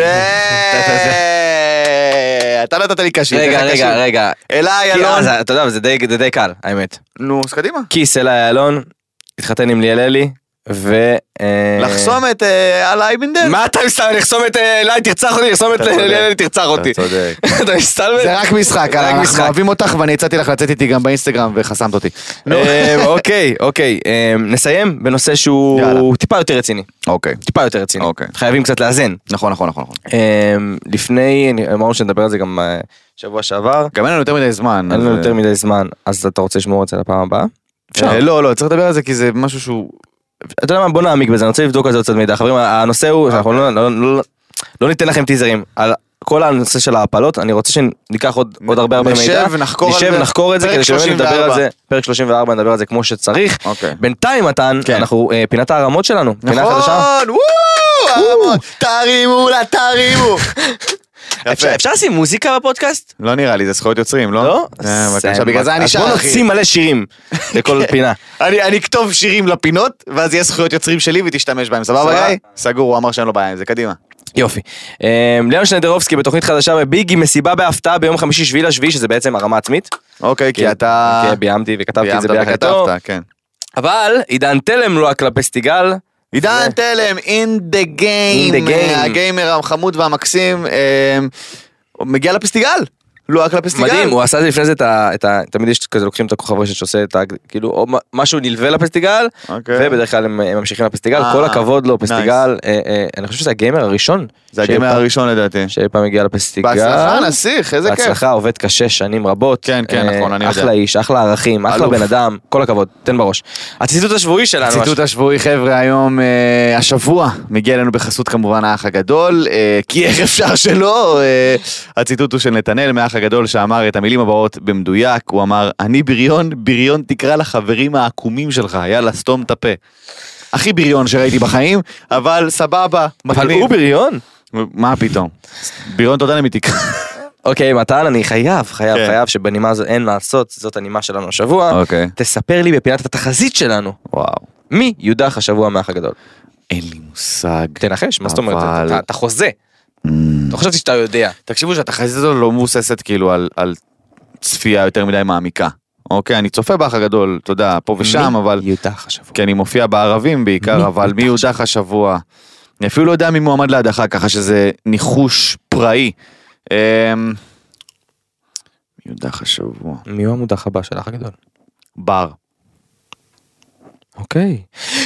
Speaker 2: אתה נתת לי קשי.
Speaker 3: רגע, רגע, רגע.
Speaker 2: אלה
Speaker 3: כי-
Speaker 2: איילון.
Speaker 3: אה, זה- אתה יודע, זה די- זה די קל, האמת.
Speaker 2: נו, אז קדימה.
Speaker 3: כיס אלה אלון, התחתן עם ליאל אלי, ו... אה,
Speaker 2: לחסום את אה, אלה אייבנדר.
Speaker 3: מה אתה מסתלבט? לחסום את אה, אליי, תרצח אותי, לחסום את אה,
Speaker 2: אתה צודק.
Speaker 3: אליי, תרצח אותי.
Speaker 2: צודק.
Speaker 3: אתה מסתלבט?
Speaker 2: זה רק משחק,
Speaker 3: זה רק
Speaker 2: אנחנו
Speaker 3: משחק.
Speaker 2: אוהבים אותך ואני הצעתי לך לצאת איתי גם באינסטגרם וחסמת אותי. נו.
Speaker 3: אה, אוקיי, אוקיי. אה, נסיים בנושא
Speaker 2: יאללה.
Speaker 3: שהוא טיפה יותר רציני.
Speaker 2: אוקיי.
Speaker 3: טיפה יותר רציני.
Speaker 2: אוקיי.
Speaker 3: חייבים קצת לאזן.
Speaker 2: נכון, נכון, נכון. נכון.
Speaker 3: אמ, לפני, אני- אמרנו שנדבר על זה גם אה, שבוע שעבר,
Speaker 2: גם אין לנו יותר מדי זמן.
Speaker 3: אין לנו
Speaker 2: אז,
Speaker 3: יותר
Speaker 2: אה,
Speaker 3: מדי זמן, אז אתה רוצה לשמור את זה לפעם הבאה?
Speaker 2: אה, לא, לא, צריך לדבר על זה כי זה משהו שהוא...
Speaker 3: אתה יודע מה, בוא נעמיק בזה, אני רוצה לבדוק על זה עוד קצת מידע. חברים, הנושא הוא, שאנחנו לא- לא- לא- לא ניתן לכם טיזרים. על כל הנושא של ההפלות, אני רוצה שניקח עוד עוד הרבה הרבה
Speaker 2: נשב
Speaker 3: מידע.
Speaker 2: ונחקור על זה.
Speaker 3: נשב ונחקור את זה,
Speaker 2: פרק
Speaker 3: כדי שבאמת נדבר
Speaker 2: 34.
Speaker 3: על זה, פרק 34 נדבר על זה כמו שצריך.
Speaker 2: אוקיי.
Speaker 3: בינתיים, מתן,
Speaker 2: כן.
Speaker 3: אנחנו, אה, פינת הערמות שלנו, פינה חדשה.
Speaker 2: נכון, וואו, הרמות, תרימו לה, תרימו.
Speaker 3: אפשר- אפשר לשים מוזיקה בפודקאסט?
Speaker 2: לא נראה לי, זה זכויות יוצרים, לא?
Speaker 3: לא?
Speaker 2: אה,
Speaker 3: זה- כן.
Speaker 2: בבקשה, בגלל זה אני
Speaker 3: אז
Speaker 2: שר,
Speaker 3: בוא
Speaker 2: אחי.
Speaker 3: נוציא מלא שירים לכל פינה.
Speaker 2: אני אני אכתוב שירים לפינות, ואז יהיה זכויות יוצרים שלי ותשתמש בהם, סבבה
Speaker 3: סבבה.
Speaker 2: גיא? סגור, הוא אמר שאין לו בעיה עם זה, קדימה.
Speaker 3: יופי. אמ, ליאון שנדרובסקי בתוכנית חדשה בביגי מסיבה בהפתעה ביום חמישי שביעי לשביעי שזה בעצם הרמה עצמית.
Speaker 2: אוקיי, כי אתה...
Speaker 3: כי ביימתי כן, וכתבתי את זה
Speaker 2: ביימת
Speaker 3: בהקלטות.
Speaker 2: וכתבת, כן.
Speaker 3: אבל עידן תלם לא כלפי סיגל.
Speaker 2: עידן
Speaker 3: זה-
Speaker 2: תלם, in the game,
Speaker 3: In the game.
Speaker 2: הגיימר החמוד והמקסים, אה, הוא אה, מגיע לפסטיגל. לא רק לפסטיגל.
Speaker 3: מדהים, הוא עשה את זה לפני זה, את ה- את ה... תמיד יש כזה, לוקחים את הכוכב רשת שעושה את ה... כאילו, או מ- משהו נלווה לפסטיגל,
Speaker 2: אוקיי.
Speaker 3: ובדרך כלל הם הם ממשיכים לפסטיגל,
Speaker 2: אה,
Speaker 3: כל הכבוד לו, פסטיגל, אה, אה, אני חושב שזה הגיימר הראשון.
Speaker 2: זה
Speaker 3: שאי
Speaker 2: הגמר
Speaker 3: פעם-
Speaker 2: הראשון לדעתי.
Speaker 3: שאי פעם הגיע לפסטיגל.
Speaker 2: בהצלחה נסיך, איזה כיף.
Speaker 3: בהצלחה, עובד קשה שנים רבות.
Speaker 2: כן, כן,
Speaker 3: אה,
Speaker 2: נכון, אני יודע.
Speaker 3: אחלה איש, אחלה ערכים, אחלה
Speaker 2: אלוף.
Speaker 3: בן אדם, כל הכבוד, תן בראש. הציטוט השבועי שלנו.
Speaker 2: הציטוט השבועי חבר'ה היום, אה, השבוע, מגיע אלינו בחסות כמובן האח הגדול, אה, כי איך אפשר שלא? אה, הציטוט הוא של נתנאל מהאח הגדול שאמר את המילים הבאות במדויק, הוא אמר, אני בריון, בריון תקרא לחברים העקומים שלך, יאללה סתום את הפה. הכי בריון שראיתי בחיים, אבל סבבה,
Speaker 3: אבל הוא
Speaker 2: מגניב.
Speaker 3: בריון.
Speaker 2: מה פתאום? בריון תודה למיתיק.
Speaker 3: אוקיי, מתן, אני חייב, חייב,
Speaker 2: כן.
Speaker 3: חייב, שבנימה הזו אין מה לעשות, זאת הנימה שלנו השבוע.
Speaker 2: אוקיי.
Speaker 3: תספר לי בפינת התחזית שלנו,
Speaker 2: וואו.
Speaker 3: מי יודח השבוע מהאח הגדול?
Speaker 2: אין לי מושג. Mm.
Speaker 3: תנחש, מה זאת אומרת?
Speaker 2: אבל-
Speaker 3: אתה- אתה חוזה. לא חשבתי שאתה יודע.
Speaker 2: תקשיבו שהתחזית הזו לא מבוססת כאילו על, על צפייה יותר מדי מעמיקה. אוקיי, אני צופה באח הגדול, אתה יודע, פה ושם,
Speaker 3: מי
Speaker 2: אבל...
Speaker 3: יודח השבוע.
Speaker 2: כי אני מופיע בערבים
Speaker 3: מי
Speaker 2: בעיקר, אבל מי
Speaker 3: יודח?
Speaker 2: יודח השבוע? אני אפילו לא יודע מי מועמד להדחה, ככה שזה ניחוש פראי. אמ, מי יודח השבוע?
Speaker 3: מי הוא המודח הבא של האח הגדול?
Speaker 2: בר.
Speaker 3: אוקיי.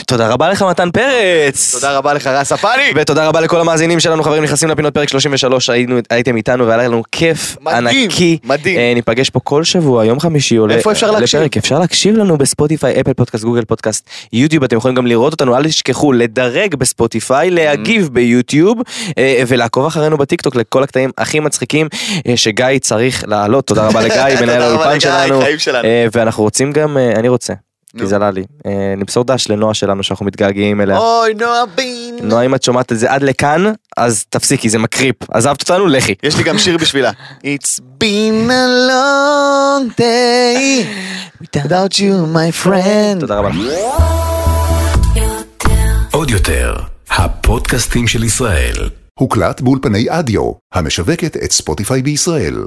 Speaker 3: תודה רבה לך, מתן פרץ.
Speaker 2: תודה רבה לך, רס הפאני!
Speaker 3: ותודה רבה לכל המאזינים שלנו, חברים, נכנסים לפינות פרק 33, היינו- הייתם איתנו והיה לנו כיף
Speaker 2: מדהים,
Speaker 3: ענקי.
Speaker 2: מדהים.
Speaker 3: אה, ניפגש פה כל שבוע, יום חמישי עולה.
Speaker 2: איפה אפשר להקשיב?
Speaker 3: לפרק. אפשר להקשיב לנו בספוטיפיי, אפל פודקאסט, גוגל פודקאסט, יוטיוב, אתם יכולים גם לראות אותנו, אל תשכחו לדרג
Speaker 2: Mm.
Speaker 3: בספוטיפיי, להגיב ביוטיוב, אה, ולעקוב אחרינו בטיקטוק לכל הקטעים הכי מצחיקים אה, שגיא צריך להעלות. תודה רבה לגיא, מנהל
Speaker 2: תודה רבה
Speaker 3: האולפן
Speaker 2: לגיא,
Speaker 3: שלנו.
Speaker 2: חיים שלנו.
Speaker 3: אה, ואנחנו רוצים גם, אה, אני רוצה, כי
Speaker 2: נו.
Speaker 3: זה עלה לי, אה, למסור דש לנועה שלנו שאנחנו מתגעגעים אליה.
Speaker 2: אוי, נועה בין!
Speaker 3: אה, נועה אם את שומעת את זה עד לכאן אז תפסיקי זה מקריפ עזבת אותנו לכי.
Speaker 2: יש לי גם שיר בשבילה. It's been a long day without you, my friend.
Speaker 3: תודה רבה.
Speaker 1: עוד יותר, הפודקאסטים של ישראל.
Speaker 4: הוקלט באולפני אדיו, המשווקת את ספוטיפיי בישראל.